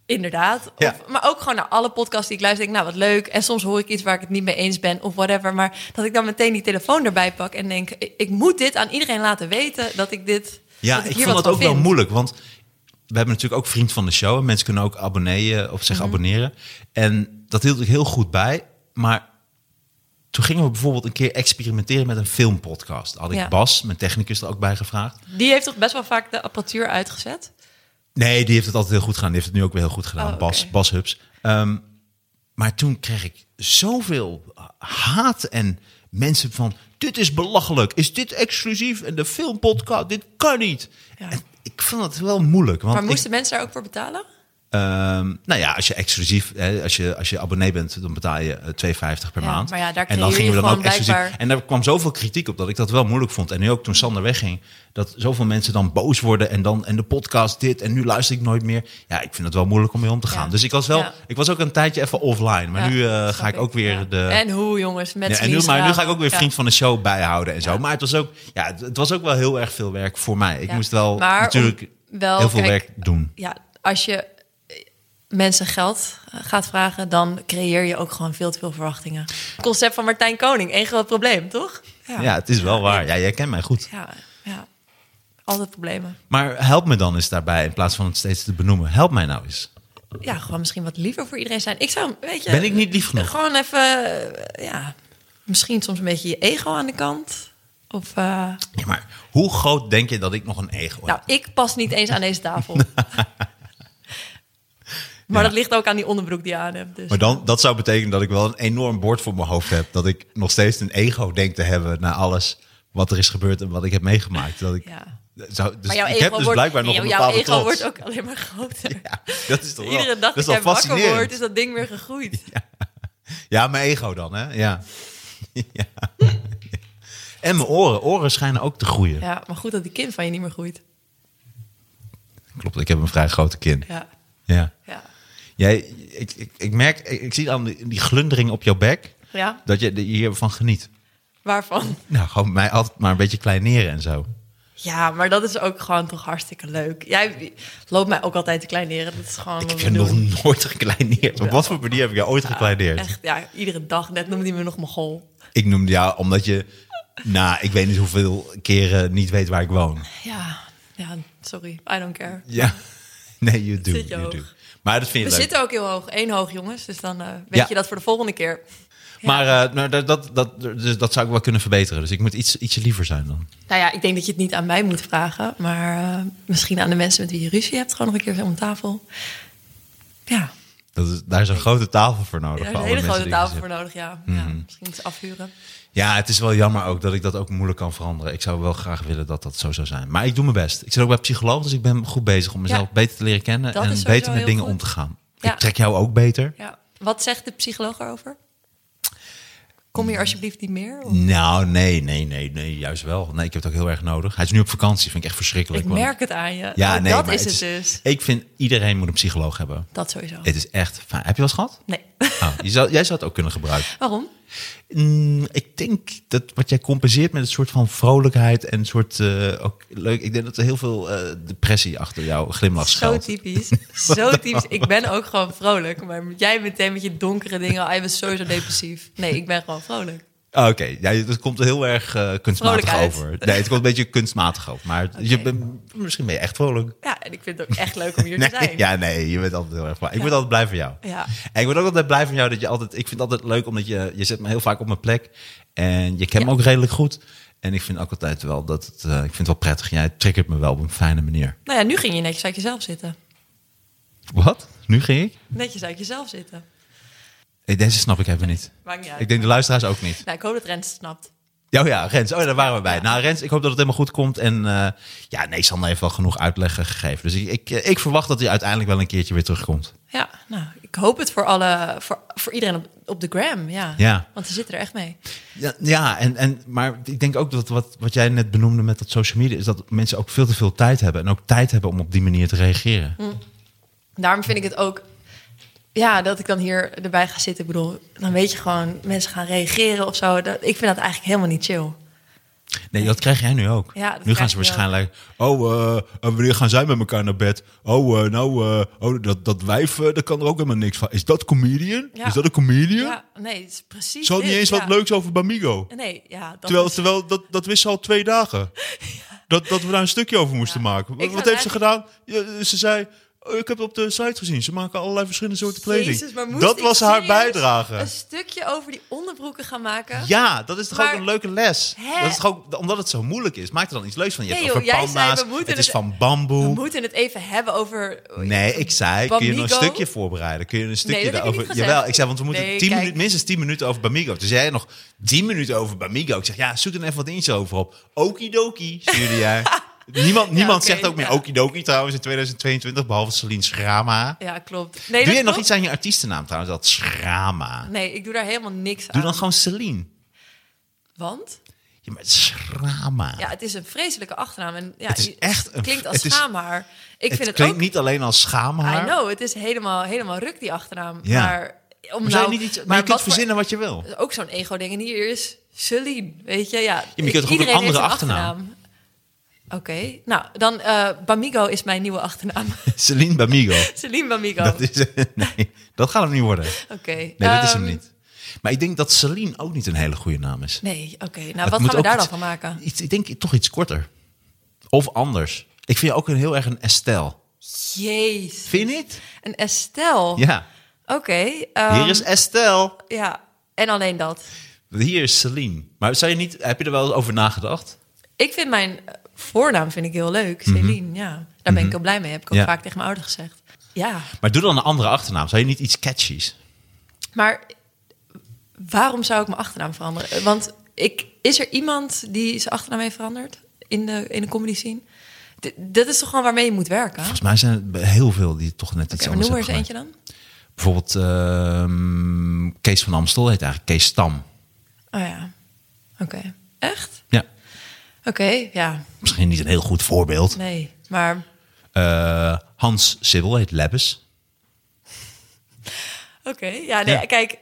[SPEAKER 3] Inderdaad.
[SPEAKER 2] Ja.
[SPEAKER 3] Of, maar ook gewoon naar alle podcasts die ik luister. Denk, ik, nou, wat leuk. En soms hoor ik iets waar ik het niet mee eens ben of whatever. Maar dat ik dan meteen die telefoon erbij pak en denk: ik, ik moet dit aan iedereen laten weten dat ik dit.
[SPEAKER 2] ja
[SPEAKER 3] dat
[SPEAKER 2] ik
[SPEAKER 3] hier
[SPEAKER 2] vond
[SPEAKER 3] wat
[SPEAKER 2] dat ook
[SPEAKER 3] van
[SPEAKER 2] wel
[SPEAKER 3] vind.
[SPEAKER 2] moeilijk. Want we hebben natuurlijk ook vriend van de show. En mensen kunnen ook abonneren of
[SPEAKER 3] Mhm.
[SPEAKER 2] zich abonneren. En dat hield ik heel goed bij. Maar toen gingen we bijvoorbeeld een keer experimenteren met een filmpodcast. Had ik
[SPEAKER 3] Ja.
[SPEAKER 2] Bas, mijn technicus, er ook bij gevraagd.
[SPEAKER 3] Die heeft toch best wel vaak de apparatuur uitgezet?
[SPEAKER 2] Nee, die heeft het altijd heel goed gedaan. Die heeft het nu ook weer heel goed gedaan.
[SPEAKER 3] Oh, oké.
[SPEAKER 2] Bas, Bas Hubs. Ehm, maar toen kreeg ik zoveel haat en mensen van... Dit is belachelijk. Is dit exclusief? En de filmpodcast, dit kan niet. En ik vond het wel moeilijk. Want
[SPEAKER 3] Maar
[SPEAKER 2] ik-
[SPEAKER 3] moesten mensen daar ook voor betalen?
[SPEAKER 2] Ehm, nou ja, als je exclusief, hè, als, je, als je abonnee bent, dan betaal je eh, 2,50 per
[SPEAKER 3] Ja,
[SPEAKER 2] maand.
[SPEAKER 3] maar ja, daar
[SPEAKER 2] en dan
[SPEAKER 3] creëer
[SPEAKER 2] gingen we
[SPEAKER 3] je
[SPEAKER 2] dan ook
[SPEAKER 3] gewoon
[SPEAKER 2] exclusief.
[SPEAKER 3] blijkbaar-
[SPEAKER 2] En daar kwam zoveel kritiek op dat ik dat wel moeilijk vond. En nu ook toen Sander wegging, dat zoveel mensen dan boos worden en dan en de podcast dit en nu luister ik nooit meer. Ja, ik vind het wel moeilijk om mee om te gaan.
[SPEAKER 3] Ja.
[SPEAKER 2] Dus ik was wel,
[SPEAKER 3] Ja.
[SPEAKER 2] ik was ook een tijdje even offline. Maar
[SPEAKER 3] Ja,
[SPEAKER 2] nu eh,
[SPEAKER 3] snap
[SPEAKER 2] ga ik ook weer
[SPEAKER 3] Ja.
[SPEAKER 2] de.
[SPEAKER 3] En hoe, jongens? Met
[SPEAKER 2] Ja, en nu, maar nu ga ik ook weer vriend van de show bijhouden en zo. Maar het was, ook, ja, het, het was ook wel heel erg veel werk voor mij. Ik
[SPEAKER 3] Ja.
[SPEAKER 2] moest wel
[SPEAKER 3] Maar om-
[SPEAKER 2] natuurlijk
[SPEAKER 3] wel,
[SPEAKER 2] heel veel
[SPEAKER 3] kijk,
[SPEAKER 2] werk doen.
[SPEAKER 3] Ja, als je. eh, mensen geld eh, gaat vragen, dan creëer je ook gewoon veel te veel verwachtingen. Het concept van Martijn Koning, één groot probleem, toch?
[SPEAKER 2] Ja. het is wel waar. Ja, jij kent mij goed.
[SPEAKER 3] Ja, ja. altijd problemen.
[SPEAKER 2] Maar help me dan eens daarbij in plaats van het steeds te benoemen. Help mij nou eens.
[SPEAKER 3] Ja, gewoon misschien wat liever voor iedereen zijn. Ik zou, weet je,
[SPEAKER 2] Ben ik niet lief genoeg?
[SPEAKER 3] gewoon even, eh, ja, misschien soms een beetje je ego aan de kant. Of, eh,
[SPEAKER 2] Ja, maar hoe groot denk je dat ik nog een ego heb?
[SPEAKER 3] nou, ik pas niet eens aan deze tafel. maar dat ligt ook aan die onderbroek die je aan hebt. Dus.
[SPEAKER 2] Maar dan, dat zou betekenen dat ik wel een enorm bord voor mijn hoofd heb. Dat ik nog steeds een ego denk te hebben naar alles wat er is gebeurd en wat ik heb meegemaakt. Dat ik,
[SPEAKER 3] Ja.
[SPEAKER 2] zou, dus
[SPEAKER 3] maar jouw
[SPEAKER 2] ik
[SPEAKER 3] ego
[SPEAKER 2] heb dus
[SPEAKER 3] wordt,
[SPEAKER 2] blijkbaar nog
[SPEAKER 3] jouw-
[SPEAKER 2] een
[SPEAKER 3] jouw
[SPEAKER 2] bepaalde
[SPEAKER 3] ego
[SPEAKER 2] trots.
[SPEAKER 3] wordt ook alleen maar groter.
[SPEAKER 2] Ja, dat is toch wel,
[SPEAKER 3] Iedere dag
[SPEAKER 2] dat is
[SPEAKER 3] dat,
[SPEAKER 2] wel
[SPEAKER 3] jij wakker
[SPEAKER 2] fascinerend.
[SPEAKER 3] wordt, is dat ding weer gegroeid.
[SPEAKER 2] Ja, mijn ego dan, hè? Ja. ja. En mijn oren. Oren schijnen ook te groeien.
[SPEAKER 3] Ja, maar goed dat die kind van je niet meer groeit.
[SPEAKER 2] Klopt, ik heb een vrij grote kin.
[SPEAKER 3] Ja,
[SPEAKER 2] Ja.
[SPEAKER 3] ja.
[SPEAKER 2] Jij, ik, ik, ik merk, ik, ik zie aan die, die glundering op jouw bek
[SPEAKER 3] ja.
[SPEAKER 2] dat je er hiervan geniet.
[SPEAKER 3] waarvan?
[SPEAKER 2] Nou, gewoon mij altijd maar een beetje kleineren en zo.
[SPEAKER 3] Ja, maar dat is ook gewoon toch hartstikke leuk. Jij loopt mij ook altijd te kleineren. Dat is gewoon
[SPEAKER 2] Ik
[SPEAKER 3] wat
[SPEAKER 2] heb
[SPEAKER 3] we
[SPEAKER 2] je
[SPEAKER 3] doen.
[SPEAKER 2] nog nooit gekleineerd. Op wat voor manier heb ik jou ooit gekleineerd?
[SPEAKER 3] Echt, ja, iedere dag. Net noemde hij me nog mogol.
[SPEAKER 2] Ik noemde jou omdat je, nou, ik weet niet hoeveel keren niet weet waar ik woon.
[SPEAKER 3] Ja, ja, sorry. I don't care.
[SPEAKER 2] Ja. Nee, you do.
[SPEAKER 3] Zit je
[SPEAKER 2] you do.
[SPEAKER 3] hoog.
[SPEAKER 2] Maar dat vind
[SPEAKER 3] We
[SPEAKER 2] je leuk.
[SPEAKER 3] zitten ook heel hoog. Eén hoog, jongens. Dus dan eh, weet
[SPEAKER 2] Ja.
[SPEAKER 3] je dat voor de volgende keer.
[SPEAKER 2] Maar eh, nou, dat, dat, dat, dus dat zou ik wel kunnen verbeteren. Dus ik moet iets, ietsje liever zijn dan.
[SPEAKER 3] Nou ja, ik denk dat je het niet aan mij moet vragen. Maar eh, misschien aan de mensen met wie je ruzie hebt. Gewoon nog een keer zo om tafel. Ja,
[SPEAKER 2] Dat is, daar is een grote tafel voor nodig.
[SPEAKER 3] daar is
[SPEAKER 2] voor
[SPEAKER 3] een
[SPEAKER 2] alle
[SPEAKER 3] hele
[SPEAKER 2] mensen
[SPEAKER 3] grote
[SPEAKER 2] die Mhm. hier
[SPEAKER 3] tafel voor
[SPEAKER 2] zitten.
[SPEAKER 3] nodig. Ja. ja, misschien iets afhuren.
[SPEAKER 2] Ja, het is wel jammer ook dat ik dat ook moeilijk kan veranderen. Ik zou wel graag willen dat dat zo zou zijn. Maar ik doe mijn best. Ik zit ook bij psycholoog, dus ik ben goed bezig om mezelf
[SPEAKER 3] Ja.
[SPEAKER 2] beter te leren kennen.
[SPEAKER 3] Dat is
[SPEAKER 2] en
[SPEAKER 3] sowieso
[SPEAKER 2] beter met
[SPEAKER 3] heel
[SPEAKER 2] dingen
[SPEAKER 3] goed.
[SPEAKER 2] om te gaan.
[SPEAKER 3] Ja.
[SPEAKER 2] Ik trek jou ook beter.
[SPEAKER 3] Ja. Wat zegt de psycholoog erover? Kom hier alsjeblieft niet meer? Of-
[SPEAKER 2] Nou, nee, nee, nee, nee, juist wel. Nee, ik heb het ook heel erg nodig. Hij is nu op vakantie, vind ik echt verschrikkelijk.
[SPEAKER 3] Ik
[SPEAKER 2] want-
[SPEAKER 3] merk het aan je.
[SPEAKER 2] ja,
[SPEAKER 3] Oh,
[SPEAKER 2] nee,
[SPEAKER 3] dat
[SPEAKER 2] maar
[SPEAKER 3] is het
[SPEAKER 2] is-
[SPEAKER 3] dus.
[SPEAKER 2] Ik vind iedereen moet een psycholoog hebben.
[SPEAKER 3] Dat sowieso.
[SPEAKER 2] Het is echt fijn. Heb je wel eens gehad?
[SPEAKER 3] Nee.
[SPEAKER 2] Oh, je zou, jij zou het ook kunnen gebruiken.
[SPEAKER 3] Waarom?
[SPEAKER 2] Mm, ik denk dat wat jij compenseert met een soort van vrolijkheid en een soort eh, ook leuk. Ik denk dat er heel veel eh, depressie achter jouw glimlach
[SPEAKER 3] Zo
[SPEAKER 2] schuilt.
[SPEAKER 3] typisch. Zo typisch. Ik ben ook gewoon vrolijk. Maar jij meteen met je donkere dingen. Oh, Hij was sowieso depressief. Nee, ik ben gewoon vrolijk.
[SPEAKER 2] Ah, Oké, ja, dat komt er heel erg eh, kunstmatig
[SPEAKER 3] Vrolijkheid.
[SPEAKER 2] over. Nee, het komt een beetje kunstmatig over. Maar je bent, misschien ben je echt vrolijk.
[SPEAKER 3] Ja, en ik vind het ook echt leuk om hier te
[SPEAKER 2] Nee,
[SPEAKER 3] zijn.
[SPEAKER 2] ja, nee, je bent altijd heel erg blij. Ik word altijd blij van jou.
[SPEAKER 3] Ja.
[SPEAKER 2] En ik word ook altijd blij van jou dat je altijd... Ik vind het altijd leuk omdat je... Je zet me heel vaak op mijn plek. En je kent me ook redelijk goed. En ik vind ook altijd wel dat het... eh, ik vind het wel prettig. Jij triggert me wel op een fijne manier.
[SPEAKER 3] Nou ja, nu ging je netjes uit jezelf zitten.
[SPEAKER 2] Wat? Nu ging ik?
[SPEAKER 3] Netjes uit jezelf zitten.
[SPEAKER 2] Eh, Deze snap ik even niet.
[SPEAKER 3] Maakt niet uit.
[SPEAKER 2] Ik denk de luisteraars ook niet.
[SPEAKER 3] Nou, ik hoop dat Rens het snapt.
[SPEAKER 2] Ja, oh ja, Rens. Oh, daar waren we bij. Nou, Rens, ik hoop dat het helemaal goed komt. En eh, ja, nee, Sander heeft wel genoeg uitleg eh, gegeven. Dus ik, ik, eh, ik verwacht dat hij uiteindelijk wel een keertje weer terugkomt.
[SPEAKER 3] Ja, nou, ik hoop het voor, alle, voor, voor iedereen op, op de gram. Ja.
[SPEAKER 2] Ja.
[SPEAKER 3] Want ze zitten er echt mee.
[SPEAKER 2] Ja, ja en, en, maar ik denk ook dat wat, wat jij net benoemde met dat social media... is dat mensen ook veel te veel tijd hebben. En ook tijd hebben om op die manier te reageren.
[SPEAKER 3] Hm. daarom vind ik het ook. Ja, dat ik dan hier erbij ga zitten. Ik bedoel, dan weet je gewoon, mensen gaan reageren of zo. Dat, ik vind dat eigenlijk helemaal niet chill.
[SPEAKER 2] Nee, dat krijg jij nu ook.
[SPEAKER 3] Ja, dat
[SPEAKER 2] nu
[SPEAKER 3] krijg
[SPEAKER 2] gaan ze
[SPEAKER 3] ik wel.
[SPEAKER 2] waarschijnlijk... Oh, eh, eh, wanneer gaan zij met elkaar naar bed? Oh, eh, nou, eh, oh, dat, dat wijf, eh, daar kan er ook helemaal niks van. Is dat comedian?
[SPEAKER 3] Ja.
[SPEAKER 2] Is dat een comedian?
[SPEAKER 3] Ja, nee, het is precies.
[SPEAKER 2] Ze had niet
[SPEAKER 3] dit,
[SPEAKER 2] eens
[SPEAKER 3] ja.
[SPEAKER 2] wat leuks over Bamigo.
[SPEAKER 3] Nee, ja. Dat
[SPEAKER 2] terwijl
[SPEAKER 3] is-
[SPEAKER 2] terwijl dat, dat wist ze al twee dagen. Dat, dat we daar een stukje over moesten maken. Wat
[SPEAKER 3] Ik
[SPEAKER 2] heeft
[SPEAKER 3] zou
[SPEAKER 2] ze
[SPEAKER 3] eigenlijk-
[SPEAKER 2] gedaan? Ja, ze zei, "Oh, ik heb het op de site gezien. Ze maken allerlei verschillende soorten kleding.
[SPEAKER 3] Jezus, maar moest
[SPEAKER 2] dat
[SPEAKER 3] ik
[SPEAKER 2] was haar
[SPEAKER 3] serieus
[SPEAKER 2] bijdrage.
[SPEAKER 3] Een stukje over die onderbroeken gaan maken.
[SPEAKER 2] Ja, dat is toch
[SPEAKER 3] Maar-
[SPEAKER 2] ook een leuke les.
[SPEAKER 3] Hè?
[SPEAKER 2] Dat is toch ook, omdat het zo moeilijk is, maak er dan iets leuks van. Je
[SPEAKER 3] Nee,
[SPEAKER 2] hebt het
[SPEAKER 3] joh,
[SPEAKER 2] over
[SPEAKER 3] jij zei,
[SPEAKER 2] panda's,
[SPEAKER 3] we moeten
[SPEAKER 2] het is
[SPEAKER 3] het-
[SPEAKER 2] van
[SPEAKER 3] We
[SPEAKER 2] bamboe.
[SPEAKER 3] moeten het even hebben over.
[SPEAKER 2] Nee, ik zei, kun je nog een
[SPEAKER 3] Bamigo?
[SPEAKER 2] stukje voorbereiden? Kun je een stukje
[SPEAKER 3] dat heb ik
[SPEAKER 2] daarover...
[SPEAKER 3] niet gezegd.
[SPEAKER 2] Jawel, ik zei, want we moeten
[SPEAKER 3] Nee,
[SPEAKER 2] 10
[SPEAKER 3] kijk.
[SPEAKER 2] minuten, minstens 10 minuten over Bamigo. Toen zei jij nog 10 minuten over Bamigo. Ik zeg, ja, zoek er even wat eentje over op. Okidoki, stuurde jij. niemand niemand
[SPEAKER 3] oké,
[SPEAKER 2] zegt ook meer
[SPEAKER 3] ja.
[SPEAKER 2] okidoki trouwens in 2022, behalve Celine Schrama.
[SPEAKER 3] Ja, klopt. Nee,
[SPEAKER 2] Doe
[SPEAKER 3] dat
[SPEAKER 2] je nog
[SPEAKER 3] klopt.
[SPEAKER 2] iets aan je artiestennaam trouwens, dat Schrama?
[SPEAKER 3] Nee, ik doe daar helemaal niks aan.
[SPEAKER 2] Doe dan gewoon Celine.
[SPEAKER 3] Want?
[SPEAKER 2] Ja, maar Schrama.
[SPEAKER 3] Ja, het is een vreselijke achternaam. En ja,
[SPEAKER 2] Het is echt een-
[SPEAKER 3] klinkt als
[SPEAKER 2] het is-
[SPEAKER 3] schaamhaar. Ik
[SPEAKER 2] het
[SPEAKER 3] vind het
[SPEAKER 2] klinkt
[SPEAKER 3] ook
[SPEAKER 2] niet alleen als schaamhaar.
[SPEAKER 3] I know, het is helemaal, helemaal ruk die achternaam.
[SPEAKER 2] Ja.
[SPEAKER 3] Maar, om
[SPEAKER 2] Maar, zou
[SPEAKER 3] nou,
[SPEAKER 2] je, niet iets, maar, je
[SPEAKER 3] maar
[SPEAKER 2] kunt
[SPEAKER 3] wat voor-
[SPEAKER 2] verzinnen wat je wil.
[SPEAKER 3] Ook zo'n ego-ding. En hier is Celine, weet je? Ja,
[SPEAKER 2] je kunt toch ook een
[SPEAKER 3] iedereen
[SPEAKER 2] andere
[SPEAKER 3] heeft
[SPEAKER 2] achternaam?
[SPEAKER 3] Oké, nou dan eh, Bamigo is mijn nieuwe achternaam.
[SPEAKER 2] Celine Bamigo.
[SPEAKER 3] Celine Bamigo.
[SPEAKER 2] Dat, is, nee, dat gaat hem niet worden.
[SPEAKER 3] Oké.
[SPEAKER 2] Nee, dat is hem
[SPEAKER 3] ehm,
[SPEAKER 2] niet. Maar ik denk dat Celine ook niet een hele goede naam is.
[SPEAKER 3] Nee, oké. Nou,
[SPEAKER 2] Het
[SPEAKER 3] wat
[SPEAKER 2] moet
[SPEAKER 3] gaan we daar
[SPEAKER 2] ook
[SPEAKER 3] dan
[SPEAKER 2] iets-
[SPEAKER 3] van maken?
[SPEAKER 2] Iets, ik denk toch iets korter. Of anders. Ik vind je ook een heel erg een Estelle.
[SPEAKER 3] Jeez.
[SPEAKER 2] Vind je niet?
[SPEAKER 3] Een Estelle.
[SPEAKER 2] Ja.
[SPEAKER 3] Oké. Oh. ehm,
[SPEAKER 2] Hier is Estelle.
[SPEAKER 3] Ja, en alleen dat.
[SPEAKER 2] Hier is Celine. Maar zou je niet, heb je er wel eens over nagedacht?
[SPEAKER 3] Ik vind mijn eh, voornaam vind ik heel leuk. Celine, ja. Daar ben ik heel blij mee. Heb ik ook
[SPEAKER 2] Mhm. Ja.
[SPEAKER 3] vaak tegen mijn ouders gezegd. Ja,
[SPEAKER 2] Maar doe dan een andere achternaam. Zou je niet iets catchies?
[SPEAKER 3] maar waarom zou ik mijn achternaam veranderen? Eh, Want ik, is er iemand die zijn achternaam heeft veranderd in de, in de comedy scene? D- dat is toch gewoon waarmee je moet werken? Oké,
[SPEAKER 2] Volgens mij zijn er heel veel die toch net iets
[SPEAKER 3] maar
[SPEAKER 2] anders
[SPEAKER 3] noem er eens
[SPEAKER 2] hebben
[SPEAKER 3] eentje dan.
[SPEAKER 2] gemaakt. Bijvoorbeeld ehm, Kees van Amstel heet eigenlijk Kees Stam.
[SPEAKER 3] Oh ja, oké. Echt?
[SPEAKER 2] Ja,
[SPEAKER 3] Oké, ja.
[SPEAKER 2] misschien niet een heel goed voorbeeld.
[SPEAKER 3] Nee, maar
[SPEAKER 2] Eh, Hans Sibbel heet Lebbes.
[SPEAKER 3] Oké, ja, nee,
[SPEAKER 2] Ja.
[SPEAKER 3] kijk.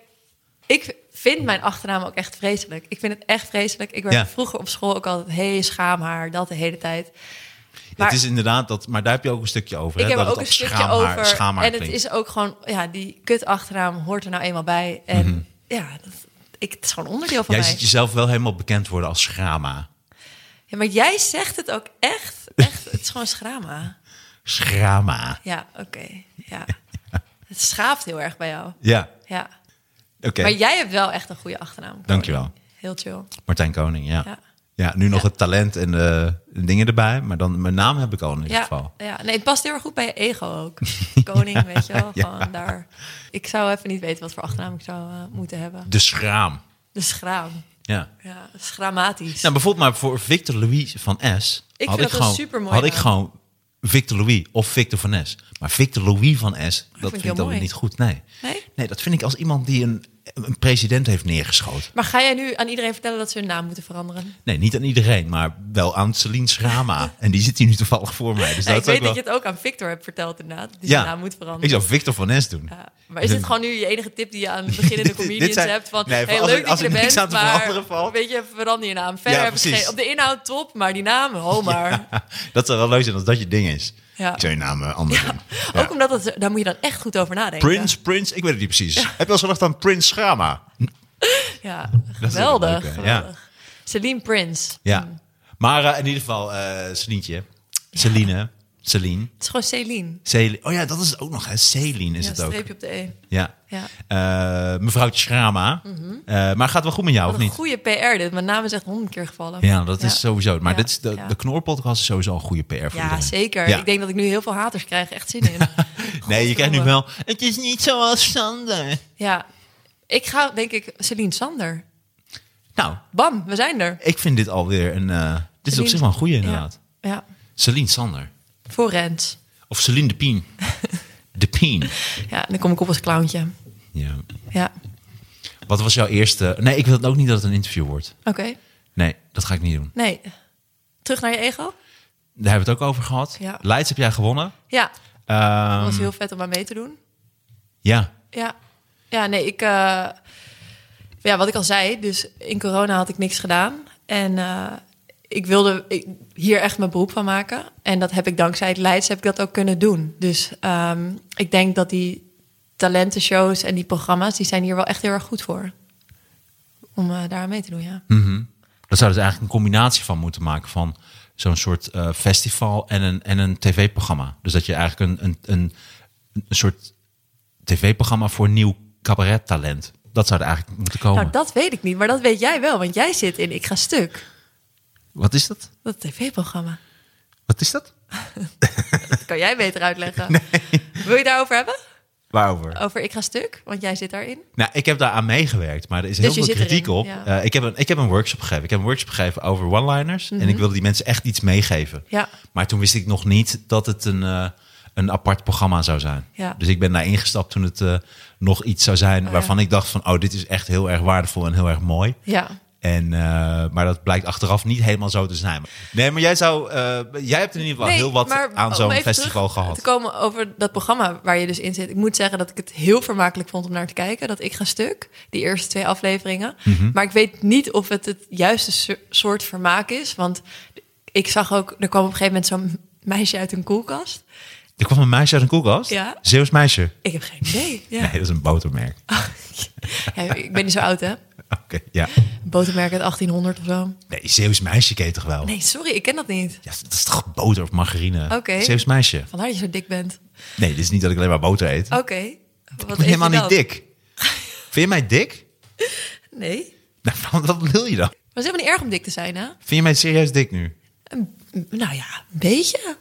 [SPEAKER 3] Ik vind mijn achternaam ook echt vreselijk. Ik vind het echt vreselijk. Ik werd
[SPEAKER 2] Ja.
[SPEAKER 3] vroeger op school ook altijd, hé, hey, schaamhaar, dat de hele tijd. Maar-
[SPEAKER 2] het is inderdaad dat, maar daar heb je ook een stukje over.
[SPEAKER 3] ik
[SPEAKER 2] hè?
[SPEAKER 3] heb
[SPEAKER 2] dat
[SPEAKER 3] er ook een
[SPEAKER 2] het
[SPEAKER 3] stukje
[SPEAKER 2] schaamhaar-
[SPEAKER 3] over.
[SPEAKER 2] schaamhaar
[SPEAKER 3] en het
[SPEAKER 2] klinkt.
[SPEAKER 3] is ook gewoon, ja, die kut achternaam hoort er nou eenmaal bij. En ja, dat, ik, het is gewoon onderdeel van
[SPEAKER 2] Mhm. Jij
[SPEAKER 3] mij.
[SPEAKER 2] ziet jezelf wel helemaal bekend worden als Schrama.
[SPEAKER 3] Ja, maar jij zegt het ook echt, echt. het is gewoon schrama.
[SPEAKER 2] Schrama.
[SPEAKER 3] Ja, oké, ja. Het schaaft heel erg bij jou.
[SPEAKER 2] Ja,
[SPEAKER 3] Ja.
[SPEAKER 2] oké.
[SPEAKER 3] Maar jij hebt wel echt een goede achternaam.
[SPEAKER 2] Dankjewel.
[SPEAKER 3] Heel chill.
[SPEAKER 2] Martijn Koning, ja.
[SPEAKER 3] Ja.
[SPEAKER 2] Ja, nu nog het talent en de dingen erbij. Maar dan mijn naam heb ik al in ieder
[SPEAKER 3] Ja,
[SPEAKER 2] geval.
[SPEAKER 3] ja, nee, het past heel erg goed bij je ego ook. Koning, weet je wel, gewoon daar. Ik zou even niet weten wat voor achternaam ik zou eh, moeten hebben.
[SPEAKER 2] De schraam.
[SPEAKER 3] De schraam.
[SPEAKER 2] Ja.
[SPEAKER 3] Ja, schramatisch.
[SPEAKER 2] Nou, bijvoorbeeld maar voor Victor Louis van S.
[SPEAKER 3] Ik vind
[SPEAKER 2] had
[SPEAKER 3] dat
[SPEAKER 2] ik
[SPEAKER 3] een
[SPEAKER 2] gewoon,
[SPEAKER 3] supermooie
[SPEAKER 2] Had ik
[SPEAKER 3] naam.
[SPEAKER 2] gewoon Victor Louis of Victor van S. Maar Victor Louis van S, dat
[SPEAKER 3] ik
[SPEAKER 2] vind
[SPEAKER 3] heel
[SPEAKER 2] ik dan
[SPEAKER 3] mooi.
[SPEAKER 2] niet goed. Nee.
[SPEAKER 3] Nee?
[SPEAKER 2] dat vind ik als iemand die een, een president heeft neergeschoten.
[SPEAKER 3] Maar ga jij nu aan iedereen vertellen dat ze hun naam moeten veranderen?
[SPEAKER 2] Nee, niet aan iedereen, maar wel aan Celine Schrama. en die zit hier nu toevallig voor mij. Dus
[SPEAKER 3] Ja,
[SPEAKER 2] dat is
[SPEAKER 3] ik
[SPEAKER 2] ook
[SPEAKER 3] weet
[SPEAKER 2] wel...
[SPEAKER 3] dat je het ook aan Victor hebt verteld inderdaad, dat die
[SPEAKER 2] Ja.
[SPEAKER 3] zijn naam moet veranderen.
[SPEAKER 2] Ik zou Victor van S doen.
[SPEAKER 3] Ja. Maar is dit gewoon nu je enige tip die je aan beginnende
[SPEAKER 2] Dit
[SPEAKER 3] comedians
[SPEAKER 2] zijn-
[SPEAKER 3] hebt? Van,
[SPEAKER 2] Nee,
[SPEAKER 3] hey,
[SPEAKER 2] als
[SPEAKER 3] leuk
[SPEAKER 2] ik-
[SPEAKER 3] dat
[SPEAKER 2] als
[SPEAKER 3] je er
[SPEAKER 2] ik niks
[SPEAKER 3] bent,
[SPEAKER 2] aan te
[SPEAKER 3] maar
[SPEAKER 2] veranderen valt.
[SPEAKER 3] weet je, verander je naam. Verder
[SPEAKER 2] Ja,
[SPEAKER 3] heb ik
[SPEAKER 2] precies.
[SPEAKER 3] geen- op de inhoud top, maar die naam, ho maar.
[SPEAKER 2] Dat zou wel leuk zijn als dat je ding is.
[SPEAKER 3] Ja.
[SPEAKER 2] Ik zou je naam eh, anders doen. Ja.
[SPEAKER 3] Ook omdat, het, daar moet je dan echt goed over nadenken.
[SPEAKER 2] Prince, Prince, ik weet het niet precies. Heb je wel eens gedacht aan Prince Schrama?
[SPEAKER 3] Ja,
[SPEAKER 2] is
[SPEAKER 3] geweldig.
[SPEAKER 2] ook leuk, hè?
[SPEAKER 3] geweldig. Celine Prince.
[SPEAKER 2] Ja. Maar eh, in ieder geval, eh Celientje. Celine. Celine.
[SPEAKER 3] Het is gewoon Celine.
[SPEAKER 2] Celine. Oh ja, dat is het ook nog, hè? Celine is
[SPEAKER 3] Ja,
[SPEAKER 2] het ook.
[SPEAKER 3] streepje op de E.
[SPEAKER 2] Ja.
[SPEAKER 3] Ja. Mhm.
[SPEAKER 2] Eh, mevrouwtje Schrama. Eh, maar gaat het wel goed met jou, of
[SPEAKER 3] Wat een
[SPEAKER 2] niet?
[SPEAKER 3] goede PR dit. Mijn naam is echt honderd keer gevallen.
[SPEAKER 2] Ja, dat is sowieso. Maar
[SPEAKER 3] Ja.
[SPEAKER 2] dit is de,
[SPEAKER 3] Ja.
[SPEAKER 2] de Knorpodcast is sowieso een goede PR voor
[SPEAKER 3] Ja,
[SPEAKER 2] iedereen.
[SPEAKER 3] zeker.
[SPEAKER 2] Ja.
[SPEAKER 3] Ik denk dat ik nu heel veel haters krijg. Echt zin in.
[SPEAKER 2] Nee, je krijgt nu wel...
[SPEAKER 4] Het is niet zoals Sander.
[SPEAKER 3] Ja. Ik ga, denk ik, Celine Sander.
[SPEAKER 2] Nou,
[SPEAKER 3] Bam, we zijn er.
[SPEAKER 2] ik vind dit alweer een... eh, dit is op
[SPEAKER 3] Celine-
[SPEAKER 2] zich wel een goede, inderdaad.
[SPEAKER 3] Ja. ja.
[SPEAKER 2] Celine Sander.
[SPEAKER 3] Voor Rens.
[SPEAKER 2] Of Celine de Pien. De Pien.
[SPEAKER 3] Ja, en dan kom ik op als clowntje.
[SPEAKER 2] Ja.
[SPEAKER 3] Ja.
[SPEAKER 2] Wat was jouw eerste... Nee, ik wil ook niet dat het een interview wordt.
[SPEAKER 3] Oké.
[SPEAKER 2] Nee, dat ga ik niet doen.
[SPEAKER 3] Nee. Terug naar je ego?
[SPEAKER 2] Daar hebben we het ook over gehad.
[SPEAKER 3] Ja.
[SPEAKER 2] Leids heb jij gewonnen.
[SPEAKER 3] Ja.
[SPEAKER 2] Ehm,
[SPEAKER 3] Dat was heel vet om aan mee te doen.
[SPEAKER 2] ja.
[SPEAKER 3] Ja, ja nee, ik. eh, ja, wat ik al zei, dus in corona had ik niks gedaan. En eh, ik wilde ik- hier echt mijn beroep van maken. En dat heb ik dankzij het Leids heb ik dat ook kunnen doen. Dus ehm, ik denk dat die talentenshows en die programma's, die zijn hier wel echt heel erg goed voor. Om eh, daar aan mee te doen, ja.
[SPEAKER 2] Dat zou dus eigenlijk een combinatie van moeten maken van zo'n soort eh, festival en een, en een tv-programma. Dus dat je eigenlijk een, een, een, een soort tv-programma voor nieuw cabaret-talent. Dat zou er eigenlijk moeten komen.
[SPEAKER 3] Nou, dat weet ik niet, maar dat weet jij wel, want jij zit in Ik Ga Stuk.
[SPEAKER 2] Wat is dat?
[SPEAKER 3] Dat tv-programma.
[SPEAKER 2] Wat is dat?
[SPEAKER 3] Dat kan jij beter uitleggen. Wil je daarover hebben?
[SPEAKER 2] Waarover?
[SPEAKER 3] Over Ik Ga Stuk? Want jij zit daarin.
[SPEAKER 2] Nou, ik heb daar aan meegewerkt, maar er is
[SPEAKER 3] Dus je
[SPEAKER 2] heel veel
[SPEAKER 3] zit
[SPEAKER 2] kritiek
[SPEAKER 3] erin,
[SPEAKER 2] op.
[SPEAKER 3] ja.
[SPEAKER 2] Eh, ik, heb een, ik heb een workshop gegeven. Ik heb een workshop gegeven over one-liners. En ik wilde die mensen echt iets meegeven.
[SPEAKER 3] Mhm. Ja.
[SPEAKER 2] Maar toen wist ik nog niet dat het een, eh, een apart programma zou zijn.
[SPEAKER 3] Ja.
[SPEAKER 2] Dus ik ben daar ingestapt toen het eh, nog iets zou zijn
[SPEAKER 3] ja.
[SPEAKER 2] waarvan ik dacht van... oh, dit is echt heel erg waardevol en heel erg mooi.
[SPEAKER 3] Ja,
[SPEAKER 2] En, eh, maar dat blijkt achteraf niet helemaal zo te zijn. Nee, maar jij, zou, eh, jij hebt in ieder geval
[SPEAKER 3] Nee,
[SPEAKER 2] heel wat
[SPEAKER 3] maar om
[SPEAKER 2] aan zo'n
[SPEAKER 3] even
[SPEAKER 2] festival
[SPEAKER 3] terug
[SPEAKER 2] gehad.
[SPEAKER 3] Te komen over dat programma waar je dus in zit. Ik moet zeggen dat ik het heel vermakelijk vond om naar te kijken. Dat ik ga stuk, die eerste twee
[SPEAKER 2] Mhm.
[SPEAKER 3] afleveringen. Maar ik weet niet of het het juiste so- soort vermaak is. Want ik zag ook, er kwam op een gegeven moment zo'n meisje uit een koelkast.
[SPEAKER 2] Er kwam een meisje uit een koelkast.
[SPEAKER 3] Ja.
[SPEAKER 2] Zeeuws meisje.
[SPEAKER 3] Ik heb geen idee. Ja.
[SPEAKER 2] Nee, dat is een botermerk.
[SPEAKER 3] Ja, ik ben niet zo oud, hè?
[SPEAKER 2] Oké, ja.
[SPEAKER 3] Botermerk uit 1800 of zo.
[SPEAKER 2] Nee, Zeeuws meisje ken je toch wel?
[SPEAKER 3] Nee, sorry, ik ken dat niet.
[SPEAKER 2] Ja, dat is toch boter of margarine?
[SPEAKER 3] Oké.
[SPEAKER 2] Zeeuws meisje.
[SPEAKER 3] Vandaar dat je zo dik bent.
[SPEAKER 2] Nee, dit is niet dat ik alleen maar boter eet.
[SPEAKER 3] Oké. Oh, wat
[SPEAKER 2] ik
[SPEAKER 3] eet
[SPEAKER 2] ben helemaal
[SPEAKER 3] je
[SPEAKER 2] niet
[SPEAKER 3] dan?
[SPEAKER 2] dik. Vind je mij dik?
[SPEAKER 3] Nee.
[SPEAKER 2] Nou, wat- wat wil je dan?
[SPEAKER 3] Maar het is helemaal niet erg om dik te zijn, hè?
[SPEAKER 2] Vind je mij serieus dik nu?
[SPEAKER 3] Een- nou ja, een beetje.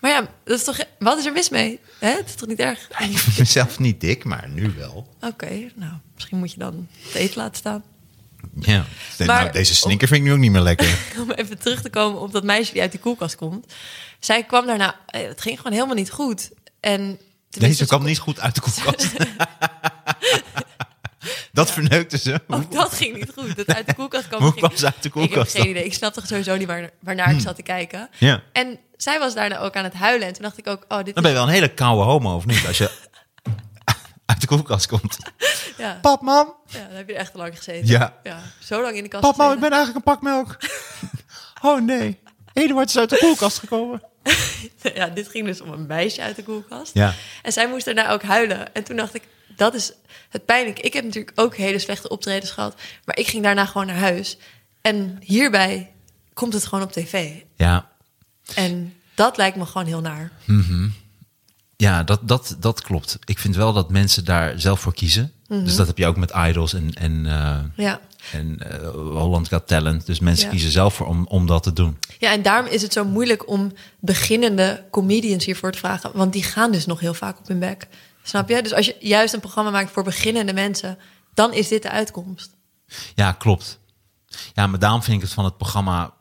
[SPEAKER 3] Maar ja, dat is toch, wat is er mis mee? Hè? Het is toch niet erg?
[SPEAKER 2] Ja, ik vind mezelf niet dik, maar nu wel.
[SPEAKER 3] Oké, nou, misschien moet je dan het eten laten staan.
[SPEAKER 2] Ja. nou,
[SPEAKER 3] Maar-
[SPEAKER 2] deze snicker vind ik nu ook niet meer lekker.
[SPEAKER 3] Om even terug te komen op dat meisje die uit de koelkast komt. Zij kwam daarna, eh, het ging gewoon helemaal niet goed. En
[SPEAKER 2] Deze
[SPEAKER 3] tenminste,
[SPEAKER 2] kwam niet goed uit de koelkast. dat verneukte ze.
[SPEAKER 3] Ook Oh, dat ging niet goed. Dat uit de koelkast kwam.
[SPEAKER 2] Hoe
[SPEAKER 3] ging-
[SPEAKER 2] kwam ze uit de
[SPEAKER 3] Ik heb
[SPEAKER 2] koelkast
[SPEAKER 3] geen
[SPEAKER 2] dan? Hmm.
[SPEAKER 3] idee. Ik snapte sowieso niet waar, waarnaar ik zat te kijken.
[SPEAKER 2] Ja.
[SPEAKER 3] En zij was daarna ook aan het huilen. En toen dacht ik ook, oh,
[SPEAKER 2] Dan
[SPEAKER 3] dit is...
[SPEAKER 2] ben je wel een hele koude homo, of niet? Als je uit de koelkast komt.
[SPEAKER 3] Ja,
[SPEAKER 2] Pap, mam.
[SPEAKER 3] ja, daar heb je echt te lang gezeten.
[SPEAKER 2] Ja.
[SPEAKER 3] Zo lang in de kast
[SPEAKER 2] Pap, mam, ik
[SPEAKER 3] gezeten.
[SPEAKER 2] ben eigenlijk een pak melk. Oh nee. Eduard is uit de koelkast gekomen.
[SPEAKER 3] Ja, dit ging dus om een meisje uit de koelkast.
[SPEAKER 2] Ja.
[SPEAKER 3] En zij moest daarna ook huilen. En toen dacht ik, dat is het pijnlijk. Ik heb natuurlijk ook hele slechte optredens gehad. Maar ik ging daarna gewoon naar huis. En hierbij komt het gewoon op tv.
[SPEAKER 2] Ja,
[SPEAKER 3] En dat lijkt me gewoon heel naar.
[SPEAKER 2] Ja, dat, dat, dat klopt. Ik vind wel dat mensen daar zelf voor kiezen. Dus dat heb je ook met idols en, en, eh,
[SPEAKER 3] Ja.
[SPEAKER 2] en eh, Holland Got Talent. Dus mensen
[SPEAKER 3] Ja.
[SPEAKER 2] kiezen zelf voor om, om dat te doen.
[SPEAKER 3] Ja, en daarom is het zo moeilijk om beginnende comedians hiervoor te vragen. Want die gaan dus nog heel vaak op hun bek. Snap je? Dus als je juist een programma maakt voor beginnende mensen, dan is dit de uitkomst.
[SPEAKER 2] Ja, klopt. Ja, maar daarom vind ik het van het programma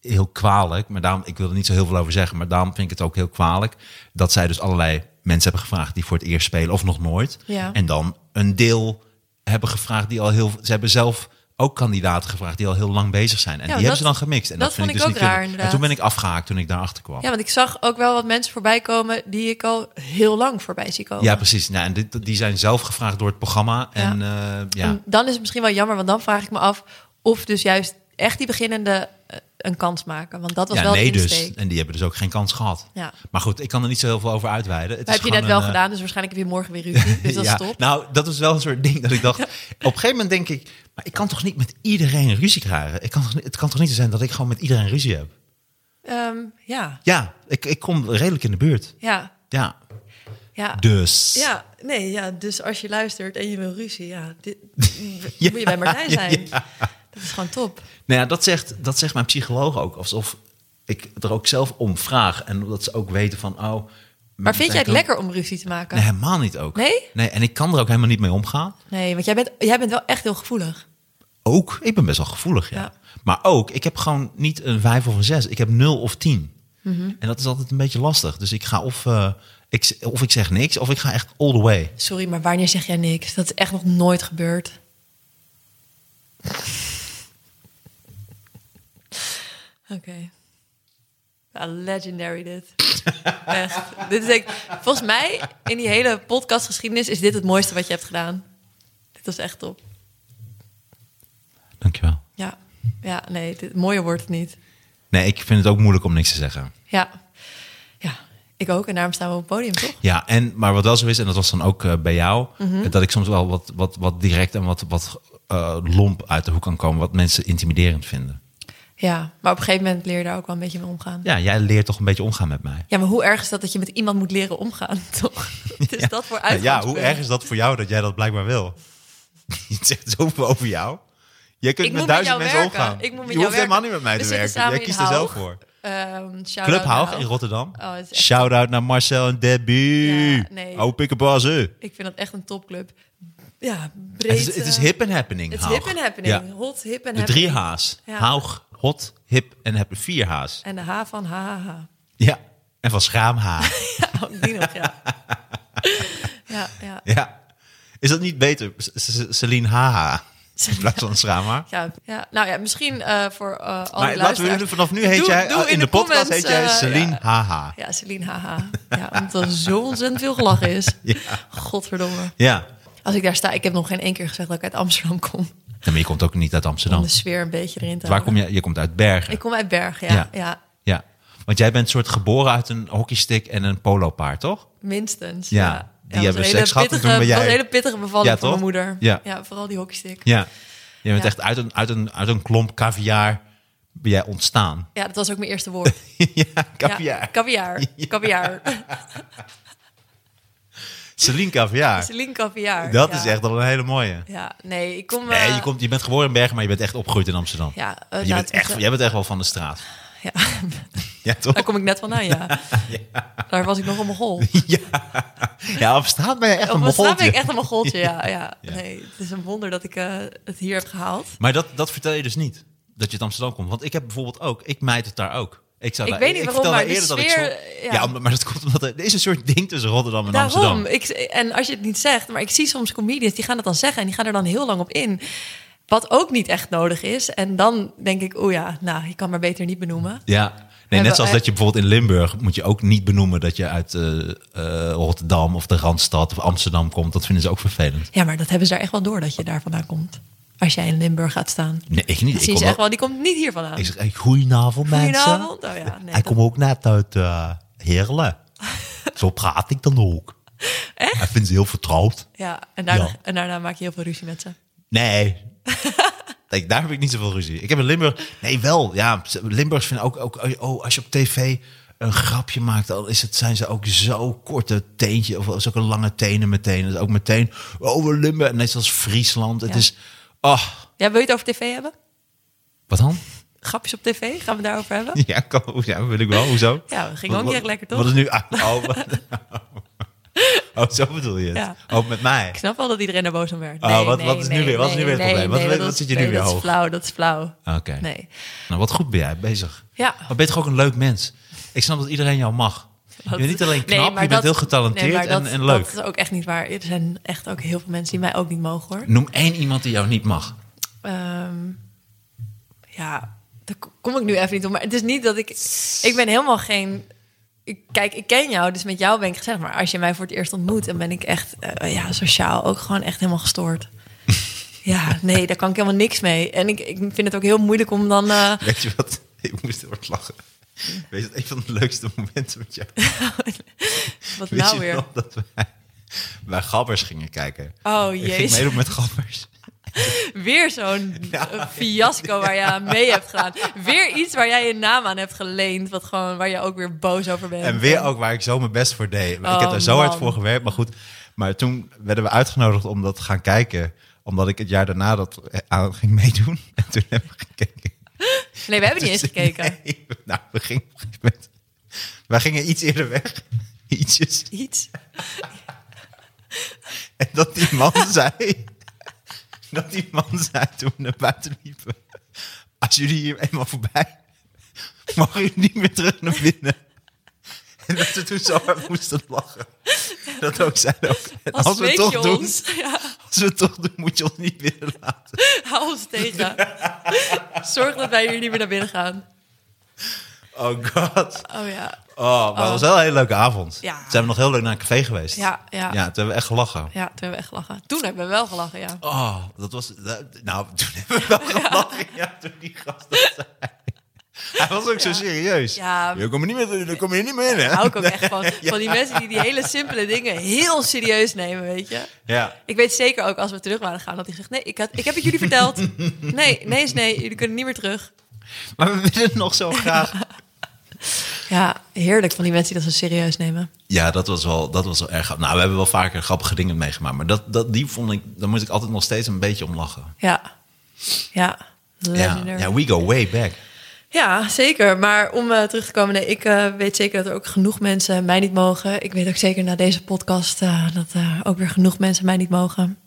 [SPEAKER 2] heel kwalijk. Maar daarom, ik wil er niet zo heel veel over zeggen, maar daarom vind ik het ook heel kwalijk dat zij dus allerlei mensen hebben gevraagd die voor het eerst spelen of nog nooit.
[SPEAKER 3] Ja.
[SPEAKER 2] En dan een deel hebben gevraagd die al heel. Ze hebben zelf ook kandidaten gevraagd die al heel lang bezig zijn. En
[SPEAKER 3] Ja,
[SPEAKER 2] die
[SPEAKER 3] dat-
[SPEAKER 2] hebben ze dan gemixt. En dat,
[SPEAKER 3] dat
[SPEAKER 2] vind
[SPEAKER 3] vond
[SPEAKER 2] ik dus
[SPEAKER 3] ik
[SPEAKER 2] niet
[SPEAKER 3] ook raar,
[SPEAKER 2] kunnen. En
[SPEAKER 3] inderdaad.
[SPEAKER 2] toen ben ik afgehaakt toen ik daarachter kwam.
[SPEAKER 3] Ja, want ik zag ook wel wat mensen voorbij komen die ik al heel lang voorbij zie komen.
[SPEAKER 2] Ja, precies. Nou, en dit, die zijn zelf gevraagd door het programma. En ja, ja.
[SPEAKER 3] En dan is het misschien wel jammer, want dan vraag ik me af of dus juist echt die beginnende eh, een kans maken. Want dat was
[SPEAKER 2] ja
[SPEAKER 3] wel
[SPEAKER 2] nee
[SPEAKER 3] de
[SPEAKER 2] dus.
[SPEAKER 3] insteek.
[SPEAKER 2] En die hebben dus ook geen kans gehad.
[SPEAKER 3] Ja.
[SPEAKER 2] Maar goed, ik kan er niet zo heel veel over uitweiden. Het
[SPEAKER 3] Maar
[SPEAKER 2] is
[SPEAKER 3] heb je
[SPEAKER 2] gewoon
[SPEAKER 3] net wel
[SPEAKER 2] een, eh,
[SPEAKER 3] gedaan, dus waarschijnlijk heb je morgen weer ruzie. Dus dat
[SPEAKER 2] ja.
[SPEAKER 3] is top.
[SPEAKER 2] Nou, dat was wel een soort ding dat ik dacht. Op een gegeven moment denk ik, maar ik kan toch niet met iedereen ruzie krijgen. Ik kan toch, niet- het kan toch niet zo zijn dat ik gewoon met iedereen ruzie heb.
[SPEAKER 3] Ehm, ja,
[SPEAKER 2] Ja, ik, ik kom redelijk in de buurt.
[SPEAKER 3] ja,
[SPEAKER 2] Ja,
[SPEAKER 3] ja.
[SPEAKER 2] dus.
[SPEAKER 3] Ja, nee, ja, dus als je luistert en je wil ruzie, ja, dit,
[SPEAKER 2] Ja,
[SPEAKER 3] moet je bij Martijn
[SPEAKER 2] ja,
[SPEAKER 3] zijn. Dat is gewoon top.
[SPEAKER 2] Nou ja, dat zegt, dat zegt mijn psycholoog ook. Alsof ik er ook zelf om vraag. En dat ze ook weten van, oh...
[SPEAKER 3] Maar vind jij het
[SPEAKER 2] kan-
[SPEAKER 3] lekker om ruzie te maken?
[SPEAKER 2] Nee,
[SPEAKER 3] Nee,
[SPEAKER 2] helemaal niet ook.
[SPEAKER 3] Nee?
[SPEAKER 2] Nee, en ik kan er ook helemaal niet mee omgaan.
[SPEAKER 3] want jij bent, jij bent wel echt heel gevoelig.
[SPEAKER 2] Ook, ik ben best wel gevoelig, ja.
[SPEAKER 3] Ja.
[SPEAKER 2] Maar ook, ik heb gewoon niet een vijf of een zes. Ik heb nul of tien. En dat is altijd een beetje lastig. Dus ik ga of, eh, ik, of ik zeg niks, of ik ga echt all the way.
[SPEAKER 3] Sorry, maar wanneer zeg jij niks? Dat is echt nog nooit gebeurd. Oké. Ja, legendary dit. Echt. Dit is echt, volgens mij, in die hele podcastgeschiedenis, is dit het mooiste wat je hebt gedaan. Dit was echt top.
[SPEAKER 2] Dankjewel.
[SPEAKER 3] Ja, ja nee, dit, mooier wordt het niet.
[SPEAKER 2] Nee, ik vind het ook moeilijk om niks te zeggen.
[SPEAKER 3] Ja. ja, ik ook. En daarom staan we op het podium, toch?
[SPEAKER 2] Ja, en, maar wat wel zo is, en dat was dan ook eh, bij jou... dat ik soms wel wat, wat, wat direct en wat, wat eh, lomp uit de hoek kan komen... wat mensen intimiderend vinden.
[SPEAKER 3] Ja, maar op een gegeven moment leer je daar ook wel een beetje mee omgaan. Ja.
[SPEAKER 2] Ja, jij leert toch een beetje omgaan met mij.
[SPEAKER 3] maar hoe erg is dat dat je met iemand moet leren omgaan, toch? Het is dat voor
[SPEAKER 2] Ja,
[SPEAKER 3] uitgangspunt.
[SPEAKER 2] hoe erg is dat voor jou dat jij dat blijkbaar wil? Het zegt zoveel over jou. Jij kunt
[SPEAKER 3] Ik
[SPEAKER 2] met
[SPEAKER 3] moet met
[SPEAKER 2] duizend
[SPEAKER 3] jou
[SPEAKER 2] mensen
[SPEAKER 3] werken.
[SPEAKER 2] omgaan.
[SPEAKER 3] Ik moet met
[SPEAKER 2] je
[SPEAKER 3] jou
[SPEAKER 2] hoeft helemaal niet
[SPEAKER 3] werken.
[SPEAKER 2] met mij
[SPEAKER 3] We
[SPEAKER 2] te werken.
[SPEAKER 3] zitten
[SPEAKER 2] Jij
[SPEAKER 3] samen in
[SPEAKER 2] kiest er zelf
[SPEAKER 3] Haug.
[SPEAKER 2] voor.
[SPEAKER 3] Ehm, shout-out
[SPEAKER 2] Club
[SPEAKER 3] naar
[SPEAKER 2] Haug
[SPEAKER 3] Haug.
[SPEAKER 2] in Rotterdam.
[SPEAKER 3] Oh, het is echt-
[SPEAKER 2] Shout-out naar Marcel en Debbie.
[SPEAKER 3] Ja, nee.
[SPEAKER 2] Oh, pikkenbassen.
[SPEAKER 3] Ik vind dat echt een topclub. Ja, breed.
[SPEAKER 2] Het is, het is
[SPEAKER 3] eh,
[SPEAKER 2] hip en happening,
[SPEAKER 3] Het is
[SPEAKER 2] Haug.
[SPEAKER 3] hip en happening.
[SPEAKER 2] Ja.
[SPEAKER 3] Hot, hip en
[SPEAKER 2] De
[SPEAKER 3] happening.
[SPEAKER 2] drie H's.
[SPEAKER 3] Ja.
[SPEAKER 2] Haug, hot, hip en happening. Vier H's.
[SPEAKER 3] En de H van haha.
[SPEAKER 2] Ja. En van schaamha.
[SPEAKER 3] Ja, ook die nog, ja. ja, ja.
[SPEAKER 2] ja. Is dat niet beter? C- C- Celine Haha. In plaats van schaamha.
[SPEAKER 3] Ja, ja, nou ja, misschien eh, voor eh alle
[SPEAKER 2] Maar laten we
[SPEAKER 3] luisteraars.
[SPEAKER 2] nu vanaf nu heet
[SPEAKER 3] Doe-
[SPEAKER 2] jij, eh,
[SPEAKER 3] doe
[SPEAKER 2] in, de, podcast
[SPEAKER 3] comments,
[SPEAKER 2] heet jij
[SPEAKER 3] eh,
[SPEAKER 2] Celine
[SPEAKER 3] ja.
[SPEAKER 2] Haha.
[SPEAKER 3] Ja, Celine, haha. Ja, omdat er zo ontzettend veel gelachen is. Godverdomme.
[SPEAKER 2] Ja.
[SPEAKER 3] Als ik daar sta, ik heb nog geen één keer gezegd dat ik uit Amsterdam kom.
[SPEAKER 2] maar je komt ook niet uit Amsterdam. Dus
[SPEAKER 3] Om de sfeer een beetje erin te
[SPEAKER 2] Nou. Waar kom
[SPEAKER 3] houden.
[SPEAKER 2] je? Je komt uit Bergen.
[SPEAKER 3] Ik kom uit Berg, ja.
[SPEAKER 2] Ja.
[SPEAKER 3] ja.
[SPEAKER 2] Ja. Want jij bent soort geboren uit een hockeystick en een polopaard, toch?
[SPEAKER 3] minstens.
[SPEAKER 2] Ja, die
[SPEAKER 3] dat was
[SPEAKER 2] hebben
[SPEAKER 3] een hele
[SPEAKER 2] seks gehad en
[SPEAKER 3] pittige-
[SPEAKER 2] toen ben
[SPEAKER 3] dat was
[SPEAKER 2] jij-
[SPEAKER 3] een hele pittige bevalling
[SPEAKER 2] Ja,
[SPEAKER 3] van
[SPEAKER 2] toch?
[SPEAKER 3] mijn moeder.
[SPEAKER 2] Ja.
[SPEAKER 3] vooral die hockeystick.
[SPEAKER 2] Ja. Je bent
[SPEAKER 3] Ja.
[SPEAKER 2] echt uit een, uit, een, uit een klomp caviar ben jij ontstaan.
[SPEAKER 3] Ja, dat was ook mijn eerste woord.
[SPEAKER 2] ja, caviar.
[SPEAKER 3] Ja, kaviaar. Kaviaar.
[SPEAKER 2] Celine caviar.
[SPEAKER 3] Celine kaviaar.
[SPEAKER 2] Dat
[SPEAKER 3] ja.
[SPEAKER 2] is echt al een hele mooie.
[SPEAKER 3] Ja, nee, ik kom...
[SPEAKER 2] Nee,
[SPEAKER 3] eh,
[SPEAKER 2] je, komt, je bent geboren in Bergen, maar je bent echt opgegroeid in Amsterdam.
[SPEAKER 3] Ja, eh,
[SPEAKER 2] je
[SPEAKER 3] laat
[SPEAKER 2] bent
[SPEAKER 3] ik
[SPEAKER 2] echt,
[SPEAKER 3] zeggen-
[SPEAKER 2] jij bent echt wel van de straat.
[SPEAKER 3] Ja,
[SPEAKER 2] Ja, toch?
[SPEAKER 3] daar kom ik net vandaan, ja. Daar was ik nog op mijn hol.
[SPEAKER 2] Ja, op straat ben je echt een
[SPEAKER 3] Op mijn straat ben
[SPEAKER 2] mogoltje.
[SPEAKER 3] ik echt op mijn goltje, ja. ja.
[SPEAKER 2] Ja.
[SPEAKER 3] Nee, het is een wonder dat ik eh, het hier heb gehaald.
[SPEAKER 2] Maar dat, dat vertel je dus niet, dat je uit Amsterdam komt. Want ik heb bijvoorbeeld ook, ik mijt het daar ook. Ik, zou
[SPEAKER 3] Ik
[SPEAKER 2] daar-
[SPEAKER 3] weet niet waarom,
[SPEAKER 2] vertelde
[SPEAKER 3] maar de
[SPEAKER 2] dat ik
[SPEAKER 3] sfeer,
[SPEAKER 2] zo-
[SPEAKER 3] ja.
[SPEAKER 2] ja. maar dat komt omdat er, er is een soort ding tussen Rotterdam en
[SPEAKER 3] Daarom.
[SPEAKER 2] Amsterdam.
[SPEAKER 3] Ik, en als je het niet zegt, maar ik zie soms comedians die gaan het dan zeggen en die gaan er dan heel lang op in. Wat ook niet echt nodig is. En dan denk ik, oh ja, nou, je kan maar beter niet benoemen.
[SPEAKER 2] Ja. Nee,
[SPEAKER 3] Hebben
[SPEAKER 2] net zoals
[SPEAKER 3] we-
[SPEAKER 2] dat je bijvoorbeeld in Limburg moet je ook niet benoemen dat je uit eh, eh, Rotterdam of de Randstad of Amsterdam komt. Dat vinden ze ook vervelend.
[SPEAKER 3] Ja, maar dat hebben ze daar echt wel door dat je daar vandaan komt. Als jij in Limburg gaat staan.
[SPEAKER 2] Nee, ik niet.
[SPEAKER 3] Dan
[SPEAKER 2] Ik,
[SPEAKER 3] zien
[SPEAKER 2] kom
[SPEAKER 3] ze echt
[SPEAKER 2] ook-
[SPEAKER 3] wel, die komt niet hier vandaan.
[SPEAKER 2] ik zeg, hey, goedenavond mensen.
[SPEAKER 3] Goedenavond. Oh ja, nee,
[SPEAKER 2] Hij
[SPEAKER 3] dat-
[SPEAKER 2] komt ook net uit eh Heerlen. Zo praat ik dan ook. Echt? Hij vindt ze heel vertrouwd.
[SPEAKER 3] ja, en, daarna,
[SPEAKER 2] Ja.
[SPEAKER 3] en daarna maak je heel veel ruzie met ze.
[SPEAKER 2] Nee. Kijk, daar heb ik niet zoveel ruzie. Ik heb in Limburg... Nee, wel. Ja, Limburgs vinden ook... ook oh, als je op tv een grapje maakt... dan is het, zijn ze ook zo korte teentje... of is ook een lange tenen meteen. Dat is ook meteen... Oh, we Limburg... Net zoals Friesland. Het
[SPEAKER 3] Ja.
[SPEAKER 2] is... Oh,
[SPEAKER 3] Ja, wil je het over tv hebben?
[SPEAKER 2] wat dan?
[SPEAKER 3] Grapjes op tv? Gaan we het daarover hebben?
[SPEAKER 2] Ja, kom, ja, wil ik wel. Hoezo?
[SPEAKER 3] Ja, dat ging
[SPEAKER 2] Wat- wat-
[SPEAKER 3] ook niet echt lekker, toch?
[SPEAKER 2] Wat is nu... Oh, wat- oh, zo bedoel je het?
[SPEAKER 3] Ja.
[SPEAKER 2] Ook met mij?
[SPEAKER 3] Ik snap wel dat iedereen er boos om werd.
[SPEAKER 2] Oh, wat- wat is nu weer- wat is nu weer het probleem? Wat- wat-
[SPEAKER 3] dat
[SPEAKER 2] wat
[SPEAKER 3] is-
[SPEAKER 2] zit je nu
[SPEAKER 3] nee,
[SPEAKER 2] weer
[SPEAKER 3] dat
[SPEAKER 2] hoog?
[SPEAKER 3] is flauw, dat is flauw.
[SPEAKER 2] Oké.
[SPEAKER 3] Nee.
[SPEAKER 2] Nou, wat goed ben jij bezig.
[SPEAKER 3] Ja.
[SPEAKER 2] Maar ben je toch ook een leuk mens? Ik snap dat iedereen jou mag. Je
[SPEAKER 3] Dat-
[SPEAKER 2] bent niet alleen
[SPEAKER 3] Nee,
[SPEAKER 2] knap,
[SPEAKER 3] maar
[SPEAKER 2] je bent
[SPEAKER 3] dat-
[SPEAKER 2] heel getalenteerd
[SPEAKER 3] nee, maar dat-
[SPEAKER 2] en, en leuk.
[SPEAKER 3] Dat is ook echt niet waar. Er zijn echt ook heel veel mensen die mij ook niet mogen, hoor.
[SPEAKER 2] Noem één iemand die jou niet mag.
[SPEAKER 3] Ehm, ja, daar k- kom ik nu even niet op. Maar het is niet dat ik... Ik ben helemaal geen... Ik, kijk, ik ken jou, dus met jou ben ik gezegd. Maar als je mij voor het eerst ontmoet, dan ben ik echt eh, ja, sociaal ook gewoon echt helemaal gestoord. ja, nee, daar kan ik helemaal niks mee. En ik, ik vind het ook heel moeilijk om dan... eh,
[SPEAKER 2] Weet je wat? Ik moest heel hard lachen. Weet je wat een van de leukste momenten met jou?
[SPEAKER 3] wat
[SPEAKER 2] Weet
[SPEAKER 3] nou
[SPEAKER 2] je
[SPEAKER 3] weer?
[SPEAKER 2] nog dat wij bij Gabbers gingen kijken?
[SPEAKER 3] Oh,
[SPEAKER 2] Ik ging
[SPEAKER 3] jezus.
[SPEAKER 2] meedoen met Gabbers.
[SPEAKER 3] Weer zo'n eh, fiasco waar je aan mee hebt gedaan. Weer iets waar jij je naam aan hebt geleend. Wat gewoon, waar je ook weer boos over bent.
[SPEAKER 2] En weer ook waar ik zo mijn best voor deed. ik heb
[SPEAKER 3] Oh,
[SPEAKER 2] daar zo hard
[SPEAKER 3] man.
[SPEAKER 2] voor gewerkt, maar goed. Maar toen werden we uitgenodigd om dat te gaan kijken. Omdat ik het jaar daarna dat eh, aan ging meedoen. En toen hebben we gekeken.
[SPEAKER 3] Nee, we hebben niet eens gekeken.
[SPEAKER 2] Nee, nou, we gingen op een gegeven moment... Wij gingen iets eerder weg. Ietsjes.
[SPEAKER 3] Iets.
[SPEAKER 2] En dat die man zei... dat die man zei toen we naar buiten liepen... Als jullie hier eenmaal voorbij... Mogen jullie niet meer terug naar binnen. En dat we toen zo hard moesten lachen. Dat ook zij ook. En
[SPEAKER 3] Als,
[SPEAKER 2] als we het toch
[SPEAKER 3] je
[SPEAKER 2] doen,
[SPEAKER 3] ons. Ja,
[SPEAKER 2] als we het toch doen, moet je ons niet willen laten.
[SPEAKER 3] hou ons tegen. Zorg dat wij hier niet meer naar binnen gaan.
[SPEAKER 2] Oh god.
[SPEAKER 3] Oh ja.
[SPEAKER 2] Oh, maar het was wel een hele leuke avond.
[SPEAKER 3] Ja.
[SPEAKER 2] Toen zijn we nog heel leuk naar een café geweest.
[SPEAKER 3] Ja, ja.
[SPEAKER 2] Ja, toen hebben we echt gelachen.
[SPEAKER 3] Ja, toen hebben we echt gelachen. Toen hebben we wel gelachen, ja.
[SPEAKER 2] Oh, dat was... dat- nou, toen hebben we wel gelachen. Ja, toen die gast dat zei. Hij was ook zo serieus.
[SPEAKER 3] Ja.
[SPEAKER 2] Je komt er niet meer, daar kom je niet meer in, hè?
[SPEAKER 3] Hou ik ook echt van. Van die mensen die die hele simpele dingen heel serieus nemen, weet je.
[SPEAKER 2] Ja.
[SPEAKER 3] Ik weet zeker ook als we terug waren gaan dat hij zegt: Nee, ik, had, ik heb het jullie verteld. Nee, nee is nee, jullie kunnen niet meer terug.
[SPEAKER 2] Maar we willen het nog zo graag.
[SPEAKER 3] Ja, heerlijk van die mensen die dat zo serieus nemen.
[SPEAKER 2] Ja, dat was wel, dat was wel erg grappig. Nou, we hebben wel vaker grappige dingen meegemaakt. Maar dat, dat, die vond ik... Daar moet ik altijd nog steeds een beetje om lachen.
[SPEAKER 3] Ja, ja.
[SPEAKER 2] Ja,
[SPEAKER 3] Legendary.
[SPEAKER 2] ja, we go way back.
[SPEAKER 3] Ja, zeker. Maar om eh, terug te komen, nee, ik eh, weet zeker dat er ook genoeg mensen mij niet mogen. Ik weet ook zeker na deze podcast eh, dat eh, ook weer genoeg mensen mij niet mogen.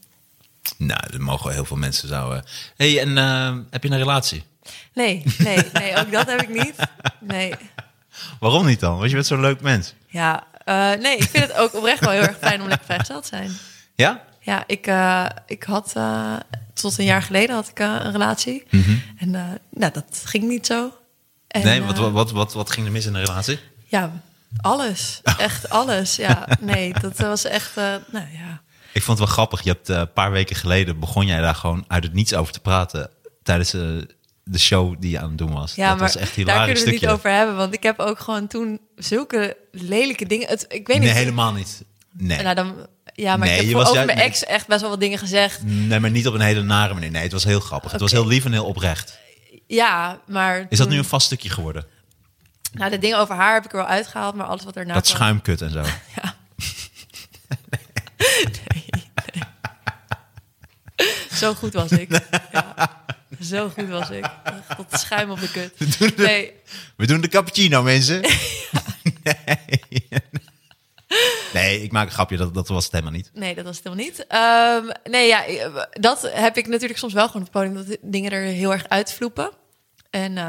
[SPEAKER 2] Nou, er mogen wel heel veel mensen zouden... hey, en eh, heb je een relatie?
[SPEAKER 3] Nee, nee, nee, ook dat heb ik niet. Nee,
[SPEAKER 2] Waarom niet dan? Want je bent zo'n leuk mens.
[SPEAKER 3] ja, eh, nee, ik vind het ook oprecht wel heel erg fijn om lekker vrijgesteld te zijn.
[SPEAKER 2] Ja?
[SPEAKER 3] Ja, ik, eh, ik had eh, tot een jaar geleden had ik eh, een relatie. En eh, nou, dat ging niet zo. En,
[SPEAKER 2] Mhm. nee, wat,
[SPEAKER 3] eh,
[SPEAKER 2] wat, wat, wat, wat ging er mis in een relatie? Oh.
[SPEAKER 3] Ja, alles. Echt alles. Ja, nee, dat was echt. eh, nou ja.
[SPEAKER 2] Ik vond het wel grappig. Je hebt eh, een paar weken geleden begon jij daar gewoon uit het niets over te praten tijdens eh, de show die je aan het doen was.
[SPEAKER 3] Ja,
[SPEAKER 2] dat
[SPEAKER 3] maar
[SPEAKER 2] was echt een
[SPEAKER 3] daar kunnen
[SPEAKER 2] hilarisch
[SPEAKER 3] we het
[SPEAKER 2] stukje.
[SPEAKER 3] niet over hebben. Want ik heb ook gewoon toen zulke lelijke dingen... Het, ik weet
[SPEAKER 2] nee,
[SPEAKER 3] niet.
[SPEAKER 2] helemaal niet. Nee.
[SPEAKER 3] Nou, dan, ja, maar
[SPEAKER 2] Nee,
[SPEAKER 3] ik
[SPEAKER 2] je
[SPEAKER 3] heb voor
[SPEAKER 2] was
[SPEAKER 3] over
[SPEAKER 2] juist-
[SPEAKER 3] mijn ex echt best wel wat dingen gezegd.
[SPEAKER 2] nee, maar niet op een hele nare manier. Nee, het was heel grappig. Het was
[SPEAKER 3] Oké.
[SPEAKER 2] heel lief en heel oprecht.
[SPEAKER 3] Ja, maar...
[SPEAKER 2] Is dat
[SPEAKER 3] toen-
[SPEAKER 2] nu een vast stukje geworden?
[SPEAKER 3] Nou, de dingen over haar heb ik er wel uitgehaald, maar alles wat erna
[SPEAKER 2] dat
[SPEAKER 3] kwam-
[SPEAKER 2] schuimkut en zo.
[SPEAKER 3] Zo goed was ik. Ja. Zo goed was ik. Echt Tot schuim op de kut. Nee,
[SPEAKER 2] We doen de cappuccino, mensen. nee. nee, ik maak een grapje. Dat, dat was het helemaal niet.
[SPEAKER 3] nee, dat was het helemaal niet. Ehm, nee, ja, dat heb ik natuurlijk soms wel gewoon op het podium. Dat dingen er heel erg uitvloepen. En, eh,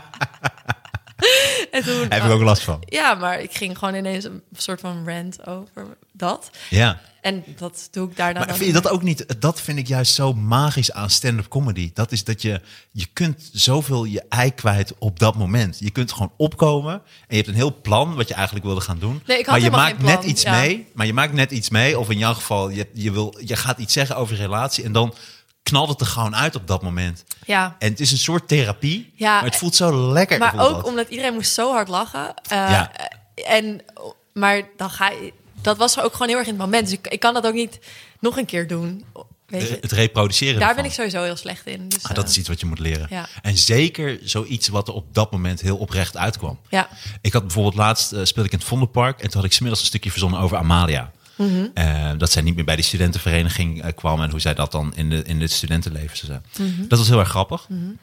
[SPEAKER 3] en toen... eh,
[SPEAKER 2] Daar heb ik ook last van.
[SPEAKER 3] Ja, maar ik ging gewoon ineens een soort van rant over dat.
[SPEAKER 2] Ja.
[SPEAKER 3] En dat doe ik daarna
[SPEAKER 2] Maar
[SPEAKER 3] Nou, dan
[SPEAKER 2] vind je dat ook niet? Dat vind ik juist zo magisch aan stand-up comedy. Dat is dat je, je kunt zoveel je ei kwijt op dat moment. Je kunt gewoon opkomen en je hebt een heel plan wat je eigenlijk wilde gaan doen.
[SPEAKER 3] Nee, ik had
[SPEAKER 2] maar je
[SPEAKER 3] helemaal
[SPEAKER 2] maakt
[SPEAKER 3] geen plan,
[SPEAKER 2] net iets
[SPEAKER 3] ja.
[SPEAKER 2] mee. Maar je maakt net iets mee. Of in jouw geval, je, je, wil, je gaat iets zeggen over je relatie en dan knalt het er gewoon uit op dat moment.
[SPEAKER 3] Ja.
[SPEAKER 2] En het is een soort therapie.
[SPEAKER 3] Ja,
[SPEAKER 2] maar het voelt zo lekker.
[SPEAKER 3] Maar
[SPEAKER 2] voelt
[SPEAKER 3] ook
[SPEAKER 2] dat.
[SPEAKER 3] omdat iedereen moest zo hard lachen. Eh,
[SPEAKER 2] Ja.
[SPEAKER 3] En, maar dan ga je, dat was ook gewoon heel erg in het moment. Dus ik, ik kan dat ook niet nog een keer doen. Weet je?
[SPEAKER 2] het reproduceren.
[SPEAKER 3] Daar
[SPEAKER 2] ervan.
[SPEAKER 3] ben ik sowieso heel slecht in. Dus,
[SPEAKER 2] Ah, dat
[SPEAKER 3] eh,
[SPEAKER 2] is iets wat je moet leren.
[SPEAKER 3] Ja.
[SPEAKER 2] En zeker zoiets wat er op dat moment heel oprecht uitkwam.
[SPEAKER 3] Ja.
[SPEAKER 2] Ik had bijvoorbeeld laatst, eh, speelde ik in het Vondelpark... en toen had ik smiddags een stukje verzonnen over Amalia.
[SPEAKER 3] Mhm.
[SPEAKER 2] Eh, dat zij niet meer bij die studentenvereniging eh, kwam... en hoe zij dat dan in, de, in het studentenleven zou zijn.
[SPEAKER 3] Mhm.
[SPEAKER 2] Dat was heel erg grappig. Een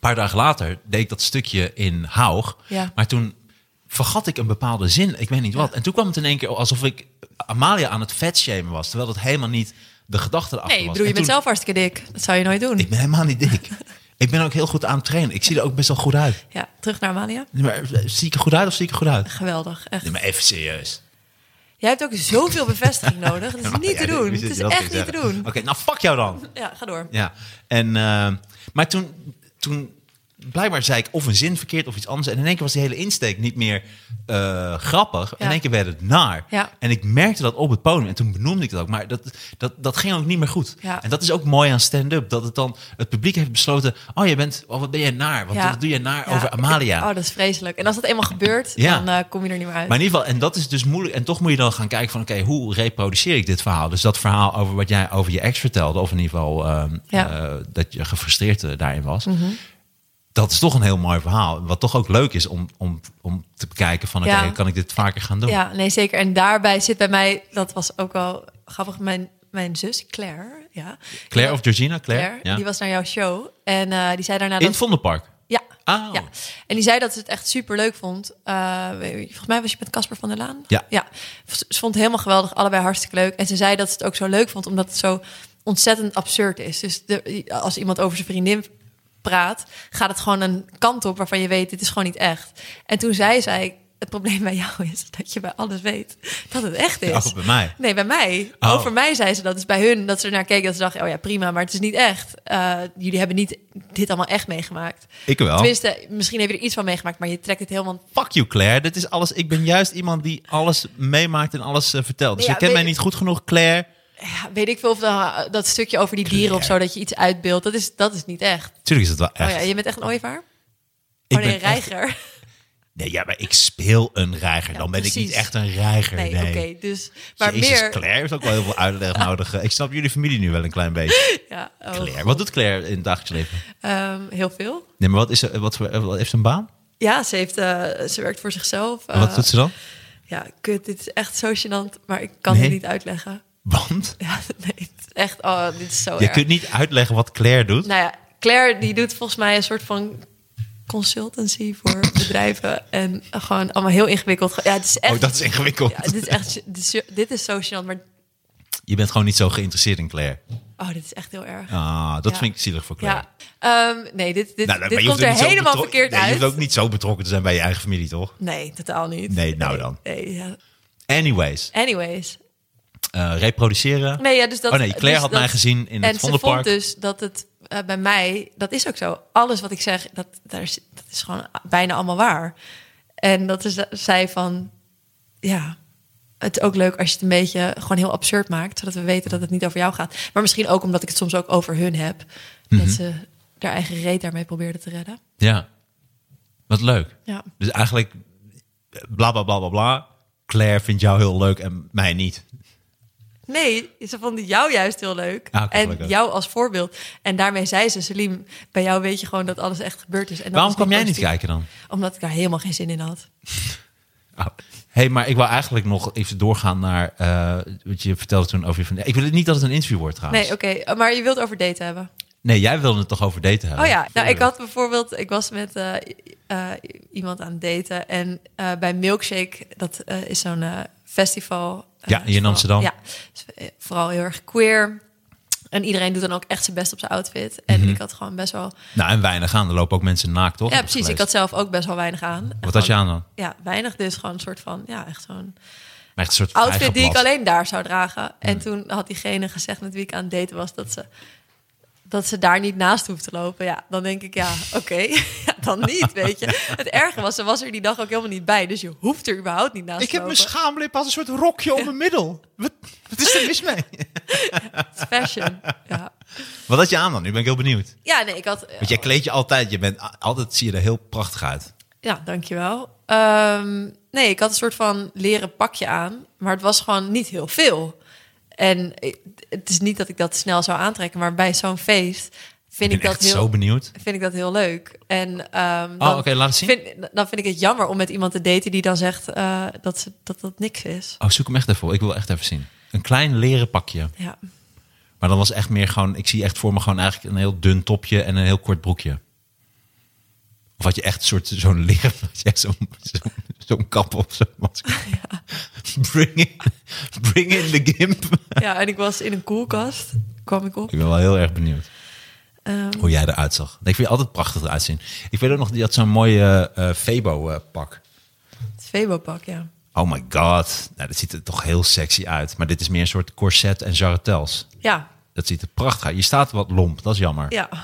[SPEAKER 2] paar dagen later deed ik dat stukje in Haug.
[SPEAKER 3] Ja.
[SPEAKER 2] Maar toen vergat ik een bepaalde zin. Ik weet niet wat. En toen kwam het in één keer alsof ik Amalia aan het vetshamen was... terwijl dat helemaal niet de gedachte erachter
[SPEAKER 3] nee, ik
[SPEAKER 2] was.
[SPEAKER 3] bedoel,
[SPEAKER 2] En
[SPEAKER 3] je bent
[SPEAKER 2] toen-
[SPEAKER 3] zelf hartstikke dik. Dat zou je nooit doen.
[SPEAKER 2] ik ben helemaal niet dik. ik ben ook heel goed aan het trainen. Ik zie er ook best wel goed uit.
[SPEAKER 3] Ja, terug naar Amalia.
[SPEAKER 2] Nee, Maar eh, zie ik er goed uit of zie ik er goed uit?
[SPEAKER 3] Geweldig, echt.
[SPEAKER 2] Nee, maar even serieus.
[SPEAKER 3] Jij hebt ook zoveel bevestiging nodig. Dat is
[SPEAKER 2] Ja,
[SPEAKER 3] niet te
[SPEAKER 2] ja,
[SPEAKER 3] doen.
[SPEAKER 2] dit-
[SPEAKER 3] Het
[SPEAKER 2] dit
[SPEAKER 3] is
[SPEAKER 2] dat
[SPEAKER 3] echt
[SPEAKER 2] ik
[SPEAKER 3] niet te
[SPEAKER 2] zeg.
[SPEAKER 3] doen.
[SPEAKER 2] Oké, nou fuck jou dan.
[SPEAKER 3] Ja, ga door.
[SPEAKER 2] Ja, en, eh, maar toen, toen, blijkbaar zei ik of een zin verkeerd of iets anders. En in één keer was die hele insteek niet meer eh, grappig.
[SPEAKER 3] Ja.
[SPEAKER 2] In één keer werd het naar.
[SPEAKER 3] Ja.
[SPEAKER 2] En ik merkte dat op het podium. En toen benoemde ik dat ook. Maar dat, dat, dat ging ook niet meer goed.
[SPEAKER 3] Ja.
[SPEAKER 2] En dat is ook mooi aan stand-up. Dat het dan, het publiek heeft besloten. Oh, je bent, oh, wat ben jij naar? Want
[SPEAKER 3] Ja.
[SPEAKER 2] wat doe je naar
[SPEAKER 3] Ja,
[SPEAKER 2] over Amalia?
[SPEAKER 3] ik- oh, dat is vreselijk. En als dat eenmaal gebeurt,
[SPEAKER 2] Ja.
[SPEAKER 3] dan eh, kom je er niet meer uit.
[SPEAKER 2] Maar in ieder geval, en dat is dus moeilijk. En toch moet je dan gaan kijken van, oké, hoe reproduceer ik dit verhaal? Dus dat verhaal over wat jij over je ex vertelde, of in ieder geval ehm,
[SPEAKER 3] Ja. Mhm.
[SPEAKER 2] eh, dat je gefrustreerd eh, daarin was. Dat is toch een heel mooi verhaal. Wat toch ook leuk is om, om, om te bekijken van, oké,
[SPEAKER 3] Ja.
[SPEAKER 2] kan ik dit vaker gaan doen?
[SPEAKER 3] Ja, nee, zeker. En daarbij zit bij mij, dat was ook wel grappig, mijn, mijn zus Claire, ja.
[SPEAKER 2] Claire of Georgina? Claire?
[SPEAKER 3] Claire,
[SPEAKER 2] ja.
[SPEAKER 3] die was naar jouw show. En eh, die zei daarna
[SPEAKER 2] in het
[SPEAKER 3] dat...
[SPEAKER 2] Vondelpark.
[SPEAKER 3] Ja,
[SPEAKER 2] Ah.
[SPEAKER 3] ja. En die zei dat ze het echt super leuk vond. Eh, weet je, volgens mij was je met Casper van der Laan.
[SPEAKER 2] Ja.
[SPEAKER 3] ja. Ze vond het helemaal geweldig, allebei hartstikke leuk. En ze zei dat ze het ook zo leuk vond, omdat het zo ontzettend absurd is. Dus de, als iemand over zijn vriendin praat, gaat het gewoon een kant op waarvan je weet, dit is gewoon niet echt. En toen zei zij, het probleem bij jou is dat je bij alles weet dat het echt is.
[SPEAKER 2] Oh, bij mij.
[SPEAKER 3] Nee, bij mij.
[SPEAKER 2] Oh.
[SPEAKER 3] Over mij zei ze dat. Dus bij hun, dat ze ernaar keken, dat ze dachten... oh ja, prima, maar het is niet echt. Eh, jullie hebben niet dit allemaal echt meegemaakt.
[SPEAKER 2] Ik wel.
[SPEAKER 3] Tenminste, misschien heb je er iets van meegemaakt... maar je trekt het helemaal...
[SPEAKER 2] Fuck you, Claire. Dit is alles. Ik ben juist iemand die alles meemaakt en alles eh, vertelt. Dus
[SPEAKER 3] Ja,
[SPEAKER 2] je kent
[SPEAKER 3] weet-
[SPEAKER 2] mij niet goed genoeg, Claire.
[SPEAKER 3] Ja, weet ik veel of dat, dat stukje over die dieren of zo... dat je iets uitbeeldt, dat is, dat is niet echt.
[SPEAKER 2] Tuurlijk is het wel echt.
[SPEAKER 3] Oh ja, je bent echt een ooievaar?
[SPEAKER 2] Ik
[SPEAKER 3] Oh
[SPEAKER 2] ben
[SPEAKER 3] nee, een
[SPEAKER 2] echt-
[SPEAKER 3] reiger.
[SPEAKER 2] Nee, ja, maar ik speel een reiger. Dan ben ik
[SPEAKER 3] precies.
[SPEAKER 2] niet echt een reiger.
[SPEAKER 3] Nee,
[SPEAKER 2] Nee,
[SPEAKER 3] oké. dus, maar
[SPEAKER 2] Jezus,
[SPEAKER 3] meer...
[SPEAKER 2] Claire heeft ook wel heel veel uitleg nodig. Ik snap jullie familie nu wel een klein beetje.
[SPEAKER 3] Ja, oh,
[SPEAKER 2] Claire, wat doet Claire in het dagelijks leven?
[SPEAKER 3] ehm, heel veel.
[SPEAKER 2] Nee, maar wat is er, wat, voor- wat- heeft ze een baan?
[SPEAKER 3] Ja, ze, heeft, eh, ze werkt voor zichzelf.
[SPEAKER 2] En wat
[SPEAKER 3] Eh,
[SPEAKER 2] doet ze dan?
[SPEAKER 3] Ja, kut, dit is echt zo gênant, maar ik kan
[SPEAKER 2] Nee.
[SPEAKER 3] het niet uitleggen.
[SPEAKER 2] Want
[SPEAKER 3] Ja, nee, het is echt, oh, dit is zo
[SPEAKER 2] je
[SPEAKER 3] erg.
[SPEAKER 2] kunt niet uitleggen wat Claire doet.
[SPEAKER 3] Nou ja, Claire die doet volgens mij een soort van consultancy voor bedrijven. En gewoon allemaal heel ingewikkeld. Ja, het is echt...
[SPEAKER 2] oh, dat is ingewikkeld.
[SPEAKER 3] ja, dit is echt... Dit is, dit is zo gênant, maar...
[SPEAKER 2] Je bent gewoon niet zo geïnteresseerd in Claire.
[SPEAKER 3] Oh, dit is echt heel erg.
[SPEAKER 2] Ah, dat
[SPEAKER 3] Ja.
[SPEAKER 2] vind ik zielig voor Claire.
[SPEAKER 3] Ja. Ehm, nee, dit, dit,
[SPEAKER 2] Nou, maar
[SPEAKER 3] dit
[SPEAKER 2] je hoeft
[SPEAKER 3] komt er
[SPEAKER 2] niet zo
[SPEAKER 3] helemaal
[SPEAKER 2] betrok-
[SPEAKER 3] verkeerd
[SPEAKER 2] nee, Je
[SPEAKER 3] uit.
[SPEAKER 2] hoeft ook niet zo betrokken te zijn bij je eigen familie, toch?
[SPEAKER 3] Nee, totaal niet.
[SPEAKER 2] Nee, nou dan.
[SPEAKER 3] Nee, ja.
[SPEAKER 2] Anyways,
[SPEAKER 3] Anyways.
[SPEAKER 2] eh, reproduceren.
[SPEAKER 3] Nee, ja, dus dat...
[SPEAKER 2] Oh nee, Claire
[SPEAKER 3] dus
[SPEAKER 2] had
[SPEAKER 3] dat-
[SPEAKER 2] mij gezien in het
[SPEAKER 3] En ze vond
[SPEAKER 2] Vondelpark.
[SPEAKER 3] dus dat het eh, bij mij, dat is ook zo. Alles wat ik zeg, dat, daar is, dat is gewoon bijna allemaal waar. En dat is zij van, ja, eh, het ook leuk als je het een beetje gewoon heel absurd maakt. Zodat we weten dat het niet over jou gaat. Maar misschien ook omdat ik het soms ook over hun heb.
[SPEAKER 2] Mhm.
[SPEAKER 3] Dat ze haar eigen reet daarmee probeerden te redden.
[SPEAKER 2] Ja. Wat leuk.
[SPEAKER 3] Ja.
[SPEAKER 2] Dus eigenlijk, bla bla bla bla bla. Claire vindt jou heel leuk en mij niet.
[SPEAKER 3] Nee, ze vonden jou juist heel leuk.
[SPEAKER 2] Ah, oké,
[SPEAKER 3] en
[SPEAKER 2] gelukkig.
[SPEAKER 3] jou als voorbeeld. En daarmee zei ze, Selim, bij jou weet je gewoon dat alles echt gebeurd is. En dat
[SPEAKER 2] Waarom
[SPEAKER 3] is
[SPEAKER 2] kwam jij niet
[SPEAKER 3] positief.
[SPEAKER 2] kijken dan?
[SPEAKER 3] Omdat ik daar helemaal geen zin in had.
[SPEAKER 2] Oh. hey, maar ik wil eigenlijk nog even doorgaan naar eh, wat je vertelde toen over je vriendin. Ik wil niet dat het een interview wordt trouwens.
[SPEAKER 3] Nee, oké. Maar je wilt over daten hebben.
[SPEAKER 2] Nee, jij wilde het toch over daten hebben?
[SPEAKER 3] Oh ja, nou ik had bijvoorbeeld, ik was met eh, eh, iemand aan het daten en eh, bij Milkshake, dat eh, is zo'n eh, festival. eh,
[SPEAKER 2] Ja, hier in
[SPEAKER 3] vooral-
[SPEAKER 2] Amsterdam.
[SPEAKER 3] Ja, is, eh, vooral heel erg queer. En iedereen doet dan ook echt zijn best op zijn outfit. En
[SPEAKER 2] Mhm.
[SPEAKER 3] ik had gewoon best wel...
[SPEAKER 2] Nou, en weinig aan. Er lopen ook mensen naakt, toch?
[SPEAKER 3] Ja,
[SPEAKER 2] Heb ik
[SPEAKER 3] precies. Ik had
[SPEAKER 2] gelezen.
[SPEAKER 3] zelf ook best wel weinig aan. En
[SPEAKER 2] Wat had je
[SPEAKER 3] gewoon-
[SPEAKER 2] aan dan?
[SPEAKER 3] Ja, weinig dus. Gewoon een soort van, ja, echt zo'n
[SPEAKER 2] Maar echt een soort
[SPEAKER 3] outfit die ik
[SPEAKER 2] vrijgeplast.
[SPEAKER 3] alleen daar zou dragen.
[SPEAKER 2] Hmm.
[SPEAKER 3] En toen had diegene gezegd met wie ik aan het daten was dat ze dat ze daar niet naast hoeft te lopen. Ja, dan denk ik ja, oké, ja, dan niet, weet je. Het erge was, ze was er die dag ook helemaal niet bij, dus je hoeft er überhaupt niet naast
[SPEAKER 4] Ik
[SPEAKER 3] te
[SPEAKER 4] heb
[SPEAKER 3] lopen.
[SPEAKER 4] mijn schaamlip als een soort rokje om mijn middel. Wat, wat is er mis mee?
[SPEAKER 3] Het is fashion. Ja.
[SPEAKER 2] Wat had je aan dan? Nu ben ik heel benieuwd.
[SPEAKER 3] ja, nee, ik had.
[SPEAKER 2] Want jij kleed je altijd. Je bent a- altijd zie je er heel prachtig uit.
[SPEAKER 3] Ja, dankjewel. Ehm nee, ik had een soort van leren pakje aan, maar het was gewoon niet heel veel. En ik- het is niet dat ik dat snel zou aantrekken, maar bij zo'n feest vind
[SPEAKER 2] ik
[SPEAKER 3] ik,
[SPEAKER 2] ben
[SPEAKER 3] dat
[SPEAKER 2] echt
[SPEAKER 3] heel
[SPEAKER 2] zo benieuwd.
[SPEAKER 3] vind ik dat heel leuk. En ehm
[SPEAKER 2] Oh, oké, laat het zien.
[SPEAKER 3] Vind, dan vind ik het jammer om met iemand te daten die dan zegt eh, dat, ze, dat dat niks is.
[SPEAKER 2] Oh, zoek hem echt even op. Ik wil echt even zien. Een klein leren pakje.
[SPEAKER 3] Ja.
[SPEAKER 2] Maar dan was echt meer gewoon... Ik zie echt voor me gewoon eigenlijk een heel dun topje en een heel kort broekje. Of had je echt soort zo'n leren... had je echt Zo'n zo'n zo'n kap of zo. Bring, in, bring in the gimp.
[SPEAKER 3] ja, en ik was in een koelkast, kwam ik op.
[SPEAKER 2] Ik ben wel heel erg benieuwd.
[SPEAKER 3] Ehm,
[SPEAKER 2] hoe jij eruit zag. Ik vind je altijd prachtig eruit zien. Ik weet ook nog, die had zo'n mooie eh, Febo eh, pak.
[SPEAKER 3] het Febo-pak, ja.
[SPEAKER 2] Oh my god. Nou, dat ziet er toch heel sexy uit. Maar dit is meer een soort corset en jarretels.
[SPEAKER 3] Ja,
[SPEAKER 2] Dat ziet er prachtig uit. Je staat wat lomp, dat is jammer.
[SPEAKER 3] ja.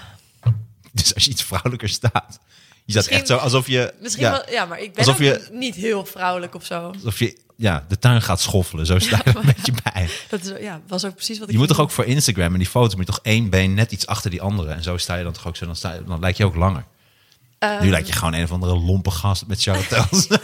[SPEAKER 2] Dus als je iets vrouwelijker staat. Je staat
[SPEAKER 3] Misschien-
[SPEAKER 2] echt zo alsof je...
[SPEAKER 3] Misschien
[SPEAKER 2] ja,
[SPEAKER 3] wel, ja, maar ik ben
[SPEAKER 2] Alsof
[SPEAKER 3] ook
[SPEAKER 2] je-
[SPEAKER 3] niet heel vrouwelijk of zo.
[SPEAKER 2] Alsof je ja, de tuin gaat schoffelen. Zo sta je er een beetje bij.
[SPEAKER 3] Dat is, ja, was ook precies wat ik
[SPEAKER 2] Je moet toch
[SPEAKER 3] ging
[SPEAKER 2] ook voor Instagram en die foto's moet je toch één been net iets achter die andere. En zo sta je dan toch ook zo. Dan, sta je, dan lijk je ook langer.
[SPEAKER 3] Ehm,
[SPEAKER 2] nu lijk je gewoon een of andere lompe gast met charretels.
[SPEAKER 3] doen.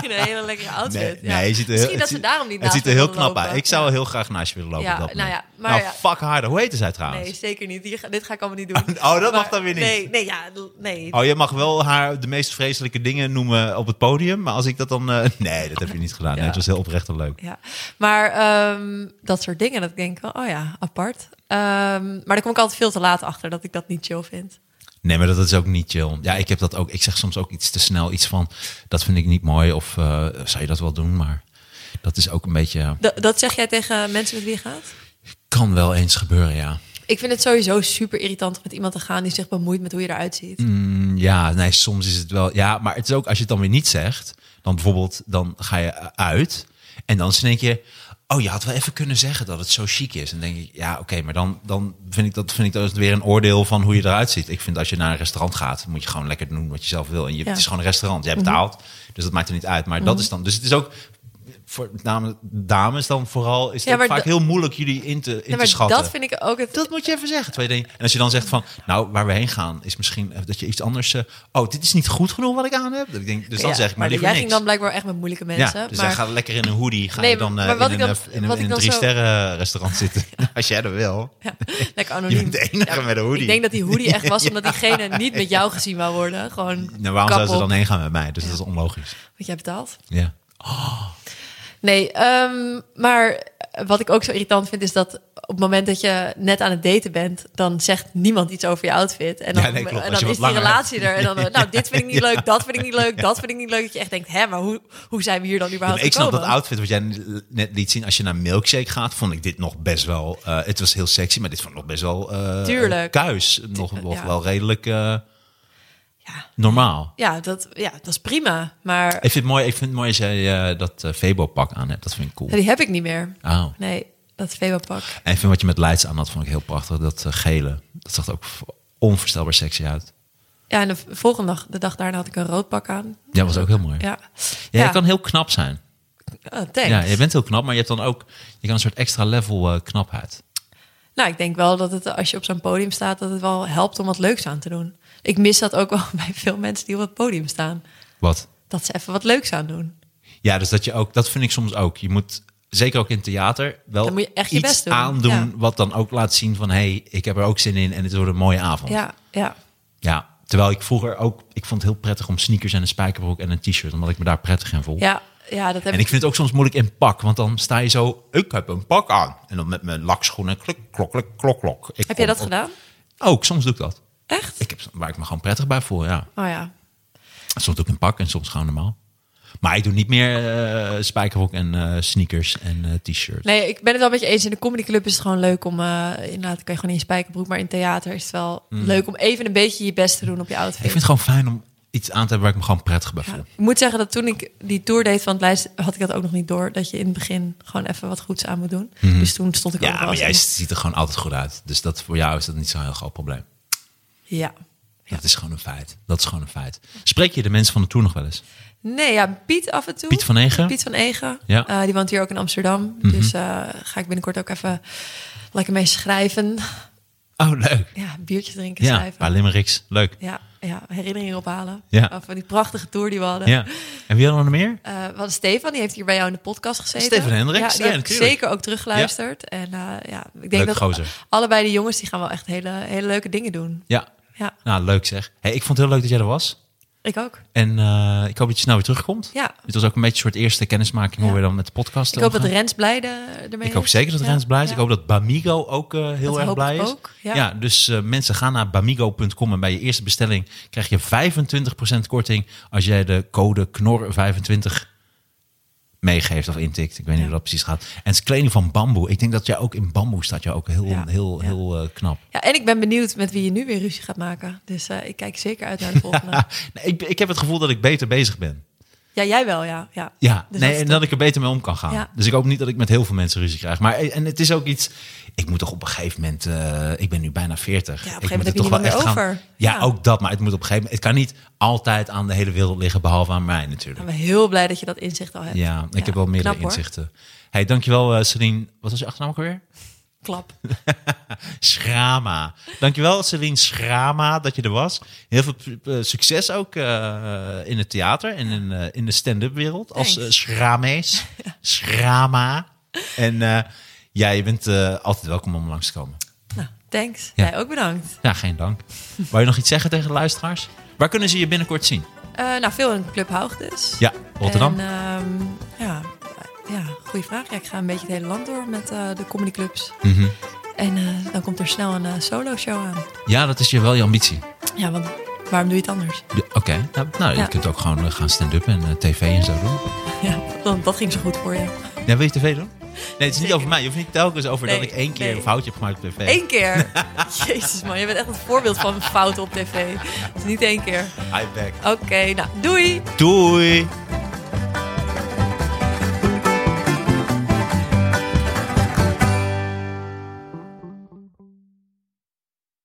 [SPEAKER 3] in een hele lekkere outfit.
[SPEAKER 2] Nee,
[SPEAKER 3] ja.
[SPEAKER 2] nee, je ziet er heel, het
[SPEAKER 3] Misschien dat
[SPEAKER 2] ziet-
[SPEAKER 3] ze daarom niet
[SPEAKER 2] Het
[SPEAKER 3] naast
[SPEAKER 2] ziet er heel
[SPEAKER 3] me willen
[SPEAKER 2] knap uit.
[SPEAKER 3] lopen.
[SPEAKER 2] Ik zou wel heel graag naast je willen lopen.
[SPEAKER 3] Ja,
[SPEAKER 2] op dat
[SPEAKER 3] nou
[SPEAKER 2] moment.
[SPEAKER 3] ja, maar
[SPEAKER 2] Nou,
[SPEAKER 3] ja.
[SPEAKER 2] fuck harder. Hoe heette zij trouwens?
[SPEAKER 3] Nee, zeker niet. Hier ga- dit ga ik allemaal niet doen.
[SPEAKER 2] Oh, dat mag dan weer niet.
[SPEAKER 3] Nee, nee, ja, nee.
[SPEAKER 2] Oh, je mag wel haar de meest vreselijke dingen noemen op het podium. Maar als ik dat dan... eh, nee, dat heb je niet gedaan. Nee,
[SPEAKER 3] Ja.
[SPEAKER 2] het was heel oprecht en leuk.
[SPEAKER 3] Ja, maar ehm, dat soort dingen, dat ik denk wel, oh ja, apart. Ehm, maar daar kom ik altijd veel te laat achter dat ik dat niet chill vind.
[SPEAKER 2] Nee, maar dat is ook niet chill. Ja, ik heb dat ook. Ik zeg soms ook iets te snel. Iets van, dat vind ik niet mooi. Of eh, zou je dat wel doen? Maar dat is ook een beetje...
[SPEAKER 3] Dat, dat zeg jij tegen mensen met wie je gaat?
[SPEAKER 2] Kan wel eens gebeuren, ja.
[SPEAKER 3] Ik vind het sowieso super irritant om met iemand te gaan die zich bemoeit met hoe je eruit ziet.
[SPEAKER 2] Mm, Ja, nee, soms is het wel. Ja, maar het is ook als je het dan weer niet zegt, dan bijvoorbeeld, dan ga je eh, uit en dan denk je, oh, je had wel even kunnen zeggen dat het zo chic is. En dan denk ik, ja, oké, maar dan, dan vind ik dat vind ik dat weer een oordeel van hoe je eruit ziet. Ik vind als je naar een restaurant gaat, moet je gewoon lekker doen wat je zelf wil. En je,
[SPEAKER 3] Ja. Mhm.
[SPEAKER 2] het is gewoon een restaurant, jij betaalt, dus dat maakt er niet uit. Maar dat is dan, dus het is ook voor met name dames dan vooral is het
[SPEAKER 3] Ja,
[SPEAKER 2] ook
[SPEAKER 3] maar
[SPEAKER 2] vaak
[SPEAKER 3] da-
[SPEAKER 2] heel moeilijk jullie in te, in
[SPEAKER 3] Ja,
[SPEAKER 2] te
[SPEAKER 3] maar
[SPEAKER 2] schatten.
[SPEAKER 3] dat vind ik ook het.
[SPEAKER 2] Dat moet je even zeggen. Twee dingen. En als je dan zegt van, nou, waar we heen gaan, is misschien eh, dat je iets anders. eh, oh, dit is niet goed genoeg wat ik aan heb. Dat ik denk, dus dan
[SPEAKER 3] Ja,
[SPEAKER 2] zeg ik maar, liever
[SPEAKER 3] jij
[SPEAKER 2] niks.
[SPEAKER 3] ging dan blijkbaar echt met moeilijke mensen.
[SPEAKER 2] ja, dus
[SPEAKER 3] maar
[SPEAKER 2] dan ga je lekker in een hoodie, ga
[SPEAKER 3] Nee,
[SPEAKER 2] je dan eh,
[SPEAKER 3] maar wat
[SPEAKER 2] in
[SPEAKER 3] ik
[SPEAKER 2] een,
[SPEAKER 3] dan-
[SPEAKER 2] eh, in een,
[SPEAKER 3] wat
[SPEAKER 2] in een
[SPEAKER 3] ik dan
[SPEAKER 2] drie
[SPEAKER 3] zo-
[SPEAKER 2] sterren restaurant zitten. Als jij dat wil.
[SPEAKER 3] ja, lekker
[SPEAKER 2] Je
[SPEAKER 3] anoniem.
[SPEAKER 2] bent de enige
[SPEAKER 3] Ja,
[SPEAKER 2] met een hoodie.
[SPEAKER 3] Ik denk dat die hoodie echt was omdat diegene niet met jou gezien wou worden. Gewoon
[SPEAKER 2] Nou, waarom
[SPEAKER 3] kap
[SPEAKER 2] zouden ze
[SPEAKER 3] op,
[SPEAKER 2] dan heen gaan met mij? Dus dat is onlogisch.
[SPEAKER 3] Want jij betaalt.
[SPEAKER 2] Ja.
[SPEAKER 3] Nee, ehm, maar wat ik ook zo irritant vind is dat op het moment dat je net aan het daten bent, dan zegt niemand iets over je outfit. En dan,
[SPEAKER 2] Ja, nee, klopt.
[SPEAKER 3] en
[SPEAKER 2] Als
[SPEAKER 3] dan
[SPEAKER 2] je
[SPEAKER 3] is
[SPEAKER 2] wat
[SPEAKER 3] die
[SPEAKER 2] langer-
[SPEAKER 3] relatie er. En dan, nou, dit vind ik niet leuk, dat vind ik niet leuk, dat vind ik niet leuk. Dat je echt denkt, hè, maar hoe, hoe zijn we hier dan
[SPEAKER 2] Ja,
[SPEAKER 3] überhaupt
[SPEAKER 2] maar ik snap dat
[SPEAKER 3] gekomen?
[SPEAKER 2] outfit wat jij net liet zien. Als je naar Milkshake gaat, vond ik dit nog best wel... eh, het was heel sexy, maar dit vond ik nog best wel... eh,
[SPEAKER 3] Tuurlijk.
[SPEAKER 2] Kuis. Nog, nog
[SPEAKER 3] ja.
[SPEAKER 2] wel redelijk eh,
[SPEAKER 3] Ja.
[SPEAKER 2] normaal.
[SPEAKER 3] Ja, dat, ja, dat is prima, maar
[SPEAKER 2] Ik vind het mooi, ik vind het mooi als jij eh, dat eh, Febo-pak aan hebt. Dat vind ik cool.
[SPEAKER 3] die heb ik niet meer.
[SPEAKER 2] Oh.
[SPEAKER 3] Nee, dat Febo-pak.
[SPEAKER 2] En ik vind wat je met Leids aan had, vond ik heel prachtig. Dat eh, gele, dat zag er ook v- onvoorstelbaar sexy uit.
[SPEAKER 3] Ja, en de v- volgende dag, de dag daarna had ik een rood pak aan.
[SPEAKER 2] Ja, was ook heel mooi.
[SPEAKER 3] Ja,
[SPEAKER 2] Ja, je kan heel knap zijn.
[SPEAKER 3] Oh, thanks.
[SPEAKER 2] Ja, je bent heel knap, maar je hebt dan ook je kan een soort extra level eh, knapheid.
[SPEAKER 3] Nou, ik denk wel dat het als je op zo'n podium staat, dat het wel helpt om wat leuks aan te doen. Ik mis dat ook wel bij veel mensen die op het podium staan.
[SPEAKER 2] Wat?
[SPEAKER 3] Dat ze even wat leuks aan doen.
[SPEAKER 2] Ja, dus dat je ook, dat vind ik soms ook. Je moet, zeker ook in theater, wel
[SPEAKER 3] Dan moet je echt je
[SPEAKER 2] iets
[SPEAKER 3] best doen,
[SPEAKER 2] aandoen
[SPEAKER 3] ja.
[SPEAKER 2] wat dan ook laat zien van... hé, hey, ik heb er ook zin in en het wordt een mooie avond.
[SPEAKER 3] Ja, ja.
[SPEAKER 2] Ja, terwijl ik vroeger ook, ik vond het heel prettig om sneakers en een spijkerbroek en een t-shirt, omdat ik me daar prettig in voel.
[SPEAKER 3] Ja, ja dat heb
[SPEAKER 2] En ik vind het ook soms moeilijk in pak, want dan sta je zo, ik heb een pak aan. En dan met mijn lakschoenen, klik, klok, klik, klok, klok. Ik
[SPEAKER 3] Heb
[SPEAKER 2] kom
[SPEAKER 3] jij dat
[SPEAKER 2] op-
[SPEAKER 3] gedaan?
[SPEAKER 2] Ook, soms doe ik dat.
[SPEAKER 3] Echt?
[SPEAKER 2] Ik heb, waar ik me gewoon prettig bij voel, ja.
[SPEAKER 3] Oh ja.
[SPEAKER 2] Soms doe ik een pak en soms gewoon normaal. Maar ik doe niet meer eh, spijkerbroek en eh, sneakers en eh, t-shirt.
[SPEAKER 3] Nee, ik ben het wel met je eens. In de comedyclub is het gewoon leuk om... eh, inderdaad, kan je gewoon in je spijkerbroek. Maar in theater is het wel leuk om even een beetje je best te doen op je outfit.
[SPEAKER 2] Hmm. Ik vind het gewoon fijn om iets aan te hebben waar ik me gewoon prettig bij voel.
[SPEAKER 3] Ja. Ik moet zeggen dat toen ik die tour deed van het lijst... had ik dat ook nog niet door. Dat je in het begin gewoon even wat goeds aan moet doen. Dus toen stond ik
[SPEAKER 2] Hmm. Ja,
[SPEAKER 3] ook wel
[SPEAKER 2] maar
[SPEAKER 3] eens
[SPEAKER 2] jij
[SPEAKER 3] in-
[SPEAKER 2] ziet er gewoon altijd goed uit. Dus dat voor jou is dat niet zo'n heel groot probleem.
[SPEAKER 3] Ja.
[SPEAKER 2] Dat is gewoon een feit. Dat is gewoon een feit. Spreek je de mensen van de tour nog wel eens?
[SPEAKER 3] Nee, ja, Piet af en toe.
[SPEAKER 2] Piet van Egen?
[SPEAKER 3] Piet van Egen.
[SPEAKER 2] Ja. Mhm.
[SPEAKER 3] Eh, die woont hier ook in Amsterdam. Dus eh, ga ik binnenkort ook even lekker mee schrijven.
[SPEAKER 2] Oh, leuk.
[SPEAKER 3] Ja, biertjes drinken,
[SPEAKER 2] Ja, een
[SPEAKER 3] schrijven.
[SPEAKER 2] paar limericks. Leuk.
[SPEAKER 3] Ja, ja, herinneringen ophalen.
[SPEAKER 2] Ja.
[SPEAKER 3] Van die prachtige tour die we hadden.
[SPEAKER 2] Ja. En wie hadden we nog meer?
[SPEAKER 3] Eh, we hadden Stefan, die heeft hier bij jou in de podcast gezeten.
[SPEAKER 2] Stefan Hendricks,
[SPEAKER 3] Ja, die
[SPEAKER 2] ja,
[SPEAKER 3] heb ik
[SPEAKER 2] natuurlijk.
[SPEAKER 3] zeker ook teruggeluisterd. En eh, ja, ik denk
[SPEAKER 2] Leuk
[SPEAKER 3] dat
[SPEAKER 2] gozer.
[SPEAKER 3] allebei die jongens, die gaan wel echt hele, hele leuke dingen doen.
[SPEAKER 2] Ja.
[SPEAKER 3] Ja,
[SPEAKER 2] Nou, leuk zeg. Hey, ik vond het heel leuk dat jij er was.
[SPEAKER 3] ik ook.
[SPEAKER 2] En eh, ik hoop dat je snel weer terugkomt.
[SPEAKER 3] Ja.
[SPEAKER 2] Het was ook een beetje een soort eerste kennismaking hoe
[SPEAKER 3] Ja.
[SPEAKER 2] we dan met de podcast
[SPEAKER 3] Ik hoop dat
[SPEAKER 2] omgaan.
[SPEAKER 3] Rens blij de- ermee
[SPEAKER 2] Ik hoop
[SPEAKER 3] is.
[SPEAKER 2] zeker dat
[SPEAKER 3] Ja,
[SPEAKER 2] Rens blij is.
[SPEAKER 3] ja.
[SPEAKER 2] Ik hoop dat Bamigo ook eh, heel
[SPEAKER 3] Dat
[SPEAKER 2] erg
[SPEAKER 3] hoop
[SPEAKER 2] blij
[SPEAKER 3] ik
[SPEAKER 2] is.
[SPEAKER 3] ook, ja.
[SPEAKER 2] dus eh, mensen gaan naar bamigo.com en bij je eerste bestelling krijg je 25% korting als jij de code KNOR25 meegeeft of intikt. Ik weet niet hoe dat precies gaat. En het is kleding van bamboe. Ik denk dat jij ook in bamboe staat. Jij ook heel,
[SPEAKER 3] Ja,
[SPEAKER 2] heel,
[SPEAKER 3] ja.
[SPEAKER 2] heel eh, knap.
[SPEAKER 3] Ja, en ik ben benieuwd met wie je nu weer ruzie gaat maken. Dus eh, ik kijk zeker uit naar de volgende.
[SPEAKER 2] Nee, ik, ik heb het gevoel dat ik beter bezig ben.
[SPEAKER 3] ja, jij wel, ja. Ja,
[SPEAKER 2] Ja, nee,
[SPEAKER 3] Dus dat is
[SPEAKER 2] en
[SPEAKER 3] top.
[SPEAKER 2] dat ik er beter mee om kan gaan.
[SPEAKER 3] Ja.
[SPEAKER 2] Dus ik hoop niet dat ik met heel veel mensen ruzie krijg. Maar eh, en het is ook iets. Ik moet toch op een gegeven moment. eh, ik ben nu bijna 40.
[SPEAKER 3] Ja, op een
[SPEAKER 2] ik
[SPEAKER 3] gegeven
[SPEAKER 2] moet
[SPEAKER 3] moment heb je niemand meer
[SPEAKER 2] gaan-
[SPEAKER 3] over.
[SPEAKER 2] Ja,
[SPEAKER 3] Ja.
[SPEAKER 2] ook dat. Maar het moet op een gegeven moment. Het kan niet altijd aan de hele wereld liggen, behalve aan mij
[SPEAKER 3] Ik
[SPEAKER 2] natuurlijk.
[SPEAKER 3] ben heel blij dat je dat inzicht al hebt.
[SPEAKER 2] Ja, ik heb wel meerdere
[SPEAKER 3] knap, hoor.
[SPEAKER 2] inzichten. Hey, dankjewel, eh Celine. Wat was je achternaam ook weer?
[SPEAKER 3] Klap.
[SPEAKER 2] Schrama. Dankjewel, Celine Schrama, dat je er was. Heel veel eh, succes ook eh, in het theater en in, eh, in de stand-up wereld. Als eh,
[SPEAKER 3] Thanks.
[SPEAKER 2] Schramees. Schrama. En eh, ja, je bent eh, altijd welkom om langs te komen.
[SPEAKER 3] Nou, thanks.
[SPEAKER 2] Ja.
[SPEAKER 3] Jij ook bedankt.
[SPEAKER 2] Ja, geen dank. Wou je nog iets zeggen tegen de luisteraars? Waar kunnen ze je binnenkort zien?
[SPEAKER 3] Eh, nou, veel in Club Haug dus.
[SPEAKER 2] Ja, Rotterdam.
[SPEAKER 3] En, ehm, ja, ja, goede vraag. Ja, ik ga een beetje het hele land door met eh, de comedyclubs.
[SPEAKER 2] Mhm.
[SPEAKER 3] En eh, dan komt er snel een solo show aan.
[SPEAKER 2] Ja, dat is je wel je ambitie.
[SPEAKER 3] Ja, want waarom doe je het anders?
[SPEAKER 2] Ja, Oké, nou, nou, je
[SPEAKER 3] Ja.
[SPEAKER 2] kunt ook gewoon eh, gaan stand-up en eh, tv en zo doen.
[SPEAKER 3] Ja, want dat ging zo goed voor je.
[SPEAKER 2] Ja, wil je tv doen? Nee, het is niet
[SPEAKER 3] Zeker.
[SPEAKER 2] over mij. Je hoeft niet telkens over dat
[SPEAKER 3] Nee,
[SPEAKER 2] ik één keer
[SPEAKER 3] nee.
[SPEAKER 2] een foutje heb gemaakt op tv.
[SPEAKER 3] Eén keer. Jezus man, je bent echt het voorbeeld van een fout op tv. Dus niet één keer.
[SPEAKER 2] I back.
[SPEAKER 3] Oké, nou doei!
[SPEAKER 2] Doei!